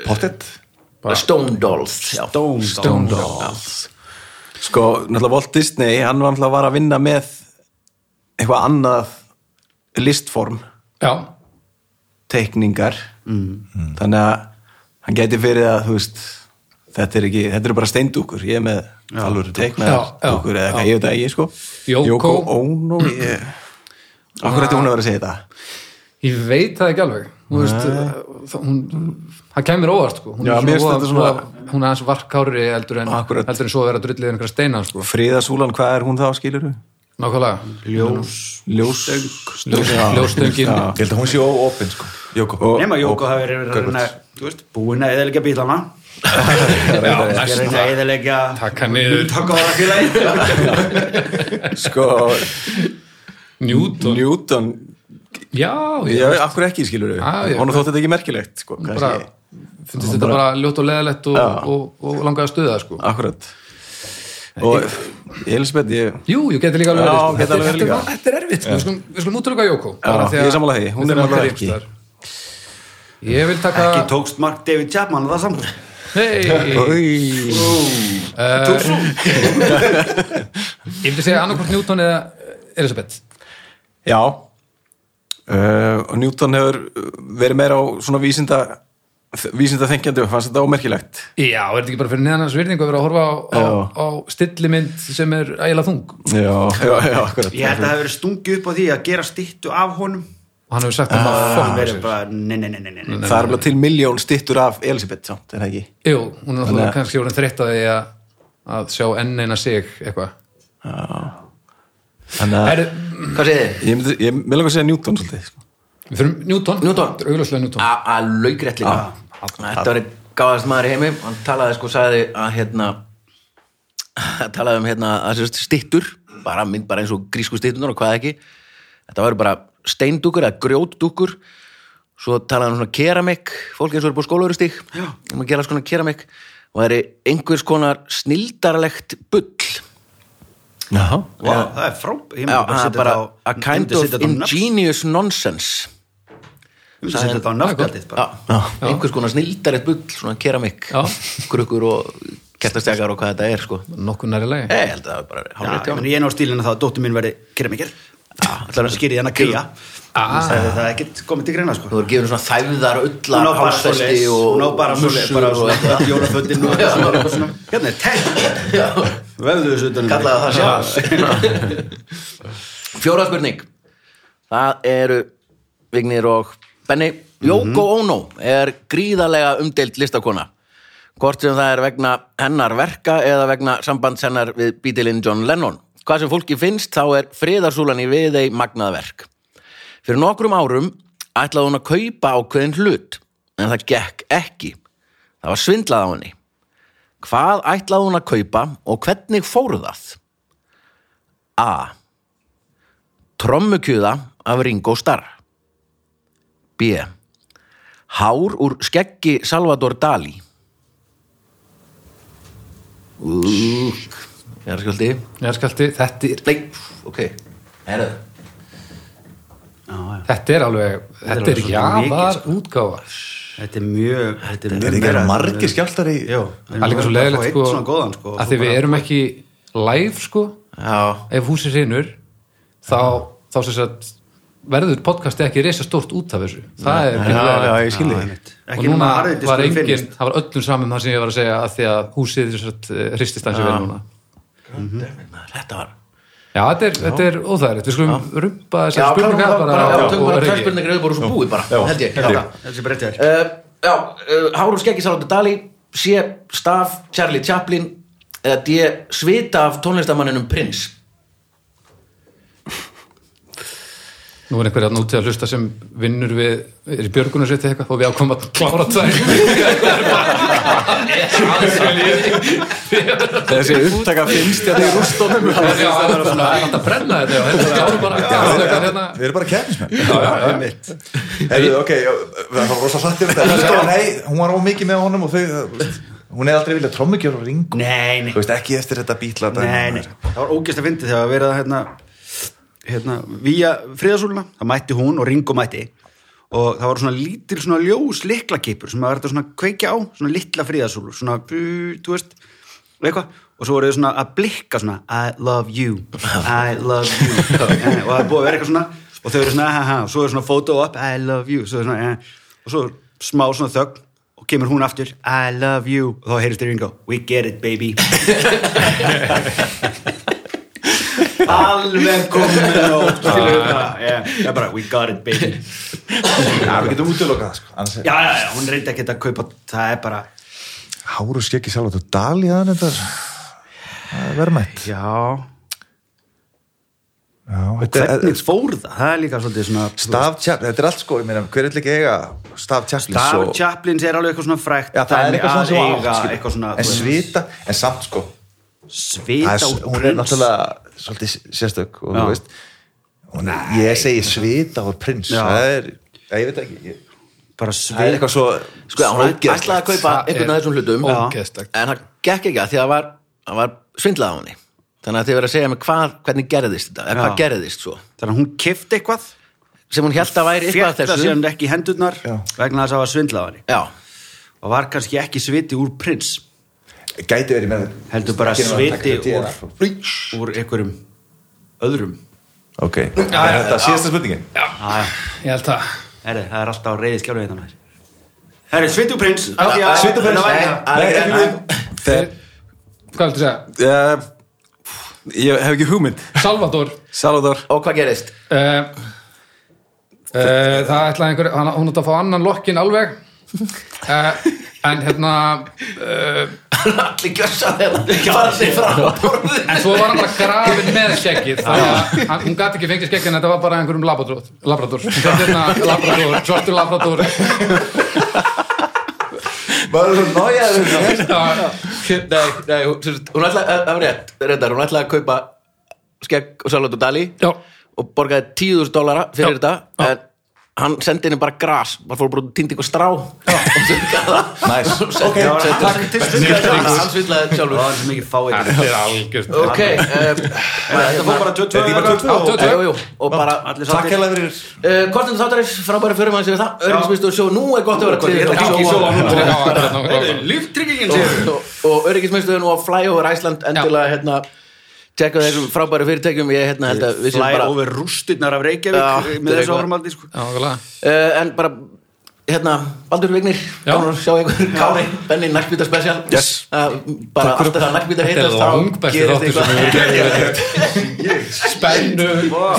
D: pottet
A: Stone Dolls já.
C: Stone,
B: Stone Dolls
F: sko, náttúrulega Walt Disney, hann var náttúrulega var að vinna með eitthvað annað listform,
B: Já,
F: teikningar, þannig að hann gæti fyrir að, þú veist, þetta er ekki, þetta eru bara steindúkur, ég er með alveg teiknaðar
B: Já, já,
F: dúkur eða eitthvað, ég veit að ég, sko.
B: Yoko.
F: Ono, ég, okkur ætti hún að vera að segja þetta?
B: ég veit það ekki alveg Þú veist, eh, það- hún, hún- það kemur óvart sko. hún,
F: Já,
B: er
F: mér finnst
B: voða-
F: þetta svona-
B: voða- hún er aðeins varkári heldur en,
F: Akkurat.
B: heldur en svo að vera drullið einhverja steina sko.
F: Fríðasúlan, hvað er hún þá, skilur
B: nákvæmlega
C: ljós
F: ljós
B: Ljós- ljóstöngin
D: Ég held að hún sé óopin sko Jóko
C: nema Jóko hafi verið að reyna þú veist, búin að eðalegja bílana
B: Já,
C: ég
B: næst-
C: reyna að eðalegja
B: taka niður
C: taka á það félagi
F: sko,
B: Newton
F: Newton
B: já,
F: já, af hverju ekki skilur við
B: Já, já.
F: honum þótti þetta ekki merkilegt sko,
B: bara
F: kannski,
B: finnst þetta bara ljótt og leðalegt og,
F: Já.
B: og, og langaði að stuða það, sko
F: akkurat og Elisabeth, ég
B: Jú, ég geti líka alveg
F: Já,
B: verið, sko.
F: geti alveg verið
B: Þetta er-
F: líka.
B: þetta er- Þetta er erfitt, sko. við skulum, við skulum útlöka Jóko bara því
F: ég
B: að-
F: er sammála því, hún
B: við
F: er
B: þurfum að
F: náttúrulega
B: byrja
F: ekki.
B: einhvers staðar. Ég vil taka
C: ekki tókst Mark David Chapman að það samt
B: Nei,
F: Oj.
C: tókst þú
B: ég vil segja annarkvort Newton eða Elisabeth
F: já uh, og Newton hefur verið meira á svona vísinda vísinda þengjandi og fannst þetta ómerkilegt
B: Já, er þetta ekki bara fyrir neðan hans virðingu að vera að horfa á, á, á stillimynd sem er ægilega þung og
F: já, já, já, akkurat
C: ég held að það hefur verið stungið upp á því að gera stýttu af honum
B: hann hefur sagt
A: Ah,
F: Ah.
B: að maður
C: það
B: fokk
C: verið bara nei, nei, nei, nei, nei.
F: það er bara til miljón stittur af Elisabeth samt, er það ekki
B: Jú, hún er náttúrulega
F: Þannig að-
B: kannski orðin þreytt að því að, að sjá enn eina sig eitthvað
F: þannig að
B: Herru,
A: Hvað segir þið?
F: ég, myndi, ég vil langa að segja Newton svolítið sko.
B: Við fyrir Newton,
A: Newton.
B: Þetta er augljóslega Newton
A: að laugrætt líka
C: Ah,
A: þetta var einn gáðast maður í heimi hann talaði sko, sagði að hérna hann talaði um hérna að sérst stittur bara mynd bara eins og grísku stittunar og hvað ekki þetta var bara steindúkur eða grjótdúkur svo talaði hann um svona keramik fólk eins og er búið skólaurustík um að gera svona keramik og það er einhvers konar snildarlegt bull
F: já,
C: Vá, það er fráb ég
A: Já,
C: myndi bara
A: það er
C: setja
A: bara
C: þetta á-
A: a kind
C: myndi
A: of
C: setja þetta á nöfn-
A: ingenious nonsense
C: myndi setja þetta á nöfnaldið bara
A: já, einhvers konar snildarlegt bull svona keramik,
B: Já.
A: krukkur og kertastekar og hvað þetta er sko
B: nokkuð næri lagi
A: Nei, ég held að það er bara
C: Já,
A: hálfrið
C: ég meina, ég ná stílina þá að dóttir mín verði keramiker Það skýrði hann að kýja Það er það ekkert komið til greina sko
A: Þú er gefur svona þæfðar, ullar,
C: Hún á bara
A: hálfsvesti
C: svoleiðis,
A: og
C: Hún á bara svoleiðis,
A: mussur
C: bara
A: og
C: svona
A: eitthvað.
C: Jólafötin og svona, og svona Hérna er tekk Vefðu þessu utan um mig.
A: Kallaði það sjálf Fjóra spurning Það eru Vignir og Benni Jóko Ono er gríðarlega umdeild listakona Hvort sem það er vegna hennar verka eða vegna sambands hennar við bítilinn John Lennon Hvað sem fólki finnst þá er friðarsúlan í við þeir magnað verk Fyrir nokkrum árum ætlaði hún að kaupa ákveðin hlut en það gekk ekki Það var svindlað á henni Hvað ætlaði hún að kaupa og hvernig fóru það? A. Trommukjöða af Ringo Starr B. Hár úr skeggi Salvador Dali Úk Ég er skjöldi
B: Jarðskjálfti, þetta, er-
A: Nei, ok Herðu
B: þetta er alveg þetta
C: alveg
B: er
C: svolítið mikið,
B: jafar útgáfa
C: Þetta er mjög Þetta
D: Er
C: mjög
D: ekki
C: meira-
D: margir skjálftar í
C: Jú,
B: Það er líka svo
C: Fá
B: leiðilegt
C: einn
B: sko,
C: svona góðan, sko,
B: að því við erum ekki live sko,
A: Já,
B: ef húsið hreinur þá, þá sem sagt verður podcasti ekki reysa stórt út af þessu það er
F: já,
B: pínu
F: já,
B: leiðilegt.
F: ég skilði
B: og
C: Ekki
B: núna
C: núna harðið
B: var engin, það var öllum saman það sem ég var að segja að því að húsið sem sagt, eh, hristist aðeins að vera núna
A: þetta var
B: já, þetta er, þetta er óþægilegt, við skulum rumpa
A: Já,
B: þessar
A: klárum
B: spurningar
A: það bara Já, tökum
B: og
A: bara
B: reyki.
A: tverspurningar yfir bara úr svo búið bara, held ég Já.
C: Þetta er bara rétt hjá þér.
A: uh, já, uh, Hárun Skeggi Salvador Dali sé staf Charlie Chaplin eða D. svita af tónlistamanninum Prince
B: Nú er einhverja nútið að hlusta sem vinnur við er í björgunarsveiti eitthvað og við ákvæmum að klára tvær
F: þessi upptaka finnst hérna ég að þið rústónum
B: Já, það er svona Það er alltaf að brenna þetta og þetta er klára bara klára hérna
D: Við erum bara kefnismenn Herðu, ok, já, það var rosa um hlattir Nei, hún var ómikið með honum og þau Hún hefði aldrei viljað trommikjör og ringu
C: Nei, nei
D: Þú veist ekki eftir þetta bítla
C: Nei, nei, það var ógæst að fyndi þegar að vera hérna, hérna, vía friðasúluna, það mætti hún og Ringo mætti og það var svona lítil svona ljós liklakipur sem að verða svona að kveikja á, svona litla friðasúlu, svona, bú, þú veist, og eitthvað og svo voru þau svona að blikka svona I love you, I love you Eh, og það er búið að vera eitthvað svona og þau eru svona, ha ha, og svo er svona photo up I love you, svo er svona, eh, og svo smá svona þögn og kemur hún aftur I love you, og þá heyrist þér Ringo We get it baby alveg komin með nóg skilur við bara, yeah. ég bara we got it baby
D: Já, við getum útilokað það, sko annars er-
C: já, já, já, hún reyndi ekki að kaupa það er bara,
D: Háru skeggi sjálf að dali þannig þetta er- það er verðmætt
C: já
D: þetta er-
C: hvernig fór það, það er líka svolítið svona
D: Stav Chaplin, þetta er allt sko, ég meina, hver er ekki eiga Stav Chaplin
C: Stav Chaplins er alveg eitthvað svona frækt
D: Já, það er
C: dæmi
D: eitthvað
C: að
D: svona sem á
C: eiga
D: átt, skilur.
C: eitthvað svona
D: En svita, en samt sko það
C: svita
D: er, s-
C: og
D: Hún er
C: prins.
D: náttúrulega svolítið sérstök og þú
C: Já.
D: veist hún, er- Ég segi svita og prins
C: Já.
D: Það er, já, ég veit ekki ég,
C: bara
D: Það er
C: svita
D: eitthvað svo
A: sko, hún
D: ógeðslegt.
A: ætlaði að kaupa
B: Það
A: einhvern
B: er
A: af þessum hlutum
B: ógeðslegt.
A: en það gekk ekki að því að það var, það var svindlað á henni þannig að þið verið að segja mig hvað, hvernig gerðist þetta eða hvað
C: Já.
A: gerðist svo
C: þannig að hún kifti eitthvað
A: sem hún held að væri eitthvað af
C: fjallar
A: þessu
C: síðan ekki í hendurnar
D: Já.
C: vegna þess að það var svindlað á henni
A: já,
C: og var kannski ekki sviti úr prins
D: Gæti verið með
C: heldur bara
D: Ekki nema að
C: sviti
D: taka
C: úr,
D: þetta
C: úr einhverjum öðrum
D: Ok, er þetta síðasta spurningin?
B: ég held að
C: Herri, það er alltaf reyðið skjálfið hérna maður. Herri, sviti úr prins af því að-
D: Svita og prins
C: Þetta var-
D: Nei, ekki við.
F: Þeir,
B: hvað viltu segja?
F: uh, ég hef ekki hugmynd
B: Salvador
F: Salvador
A: og hvað gerðist
B: uh, uh, það ætlaði einhver hann, hún átti að fá annan lokkin alveg uh, en hérna uh,
A: allir gjössa þeirra fara sig frá borðinu.
B: en svo var hann bara grafin með skeggið þannig að hann- hún gæti ekki fengið skeggið en þetta var bara einhverjum labrador, labrador. Hérna, labrador svartur labrador
D: Maður er svo nájaður
B: Já,
A: nei, nei, hún, sem sagt, hún ætlaði að, að rétt, reyndar, hún ætlaði að kaupa skegg og salat og dali
B: já,
A: og borgaði 10.000 dólara fyrir
B: Já.
A: þetta en hann sendi henni bara gras bara fór bara og týndi eitthvað strá og sukkaði það
D: Næs.
A: ok, takk hann svillaði
C: Það
A: sjálfur
C: var sem ekki fáið
B: þetta er algjörst
A: ok, eh, þetta fór bara 22
D: Þetta er ekki bara 22
B: 22.
A: Jú, jú, og bara
C: Allir
D: Takk
C: sáttir
D: hella fyrir
A: uh, Kortin þáttarins, frábæri fyrir maður sem við það Öryggismistu og sjó, nú er gott að vera
C: Ég ætla að
A: til.
C: kíkja í sjóa núna.
B: Já, akkurat, nákvæmlega.
C: Heyrðu, Líftryggingin
A: og, og, og öryggismistu og fly over Iceland endilega hérna tjekka þessum frábæri fyrirtækjum ég hérna held að við séum
C: Fly
A: bara
C: over rústirnar
A: Já,
C: af Reykjavík
A: þetta
C: með
A: er
C: þessu
A: eitthvað.
C: áframaldi sko.
B: Já, nákvæmlega.
A: uh, en bara hérna, Baldur Vignir,
B: Já.
A: gaman að sjá ykkur Kári, Benni, Nackbítar Special yes. uh, bara allt þetta Nackbítar
B: Þetta er
A: heitast
B: langbæsti þáttur sem við gerum Spennu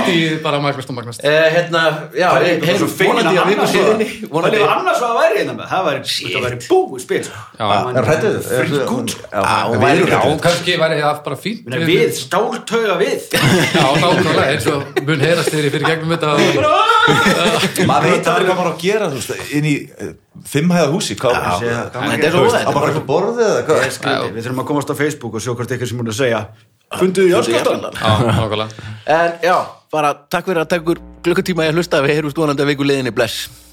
B: stíð bara magnast og magnast
A: Uh, hérna, já, ég
C: Ég er
A: hef
C: svo fegin
A: vonandi að
C: að
A: viku
C: annars
A: síðinni
C: var-
A: vonandi
C: Vonandi að annars var að væri hérna með Það væri, þetta væri búið spil sko.
B: Já.
C: Það væri-
D: Rættu
C: Frítt gút.
A: hún
D: Við
A: væri
D: erum
B: Já,
D: rættu
B: kannski væri það bara fínt
C: Meina, Við stáltauga við
B: Já, nákvæmlega, eins og mun heyrast þeirri fyrir gegnum þetta og-
D: maður veit aldrei hvað maður á að gera þú veist, inn í uh, fimmhæða húsi hvað á
A: Já,
D: að
A: en þetta er svo
D: að bara eitthvað borðið eða hvað
C: Skrítið, Við þurfum að komast á Facebook og sjá hvort eitthvað sem hún er að segja Funduðu járskjöldan
B: Já, nákvæmlega
A: En já, bara takk fyrir að takk ykkur klukkutíma í að hlusta Við heyrjum stónandi að viku liðinni, bless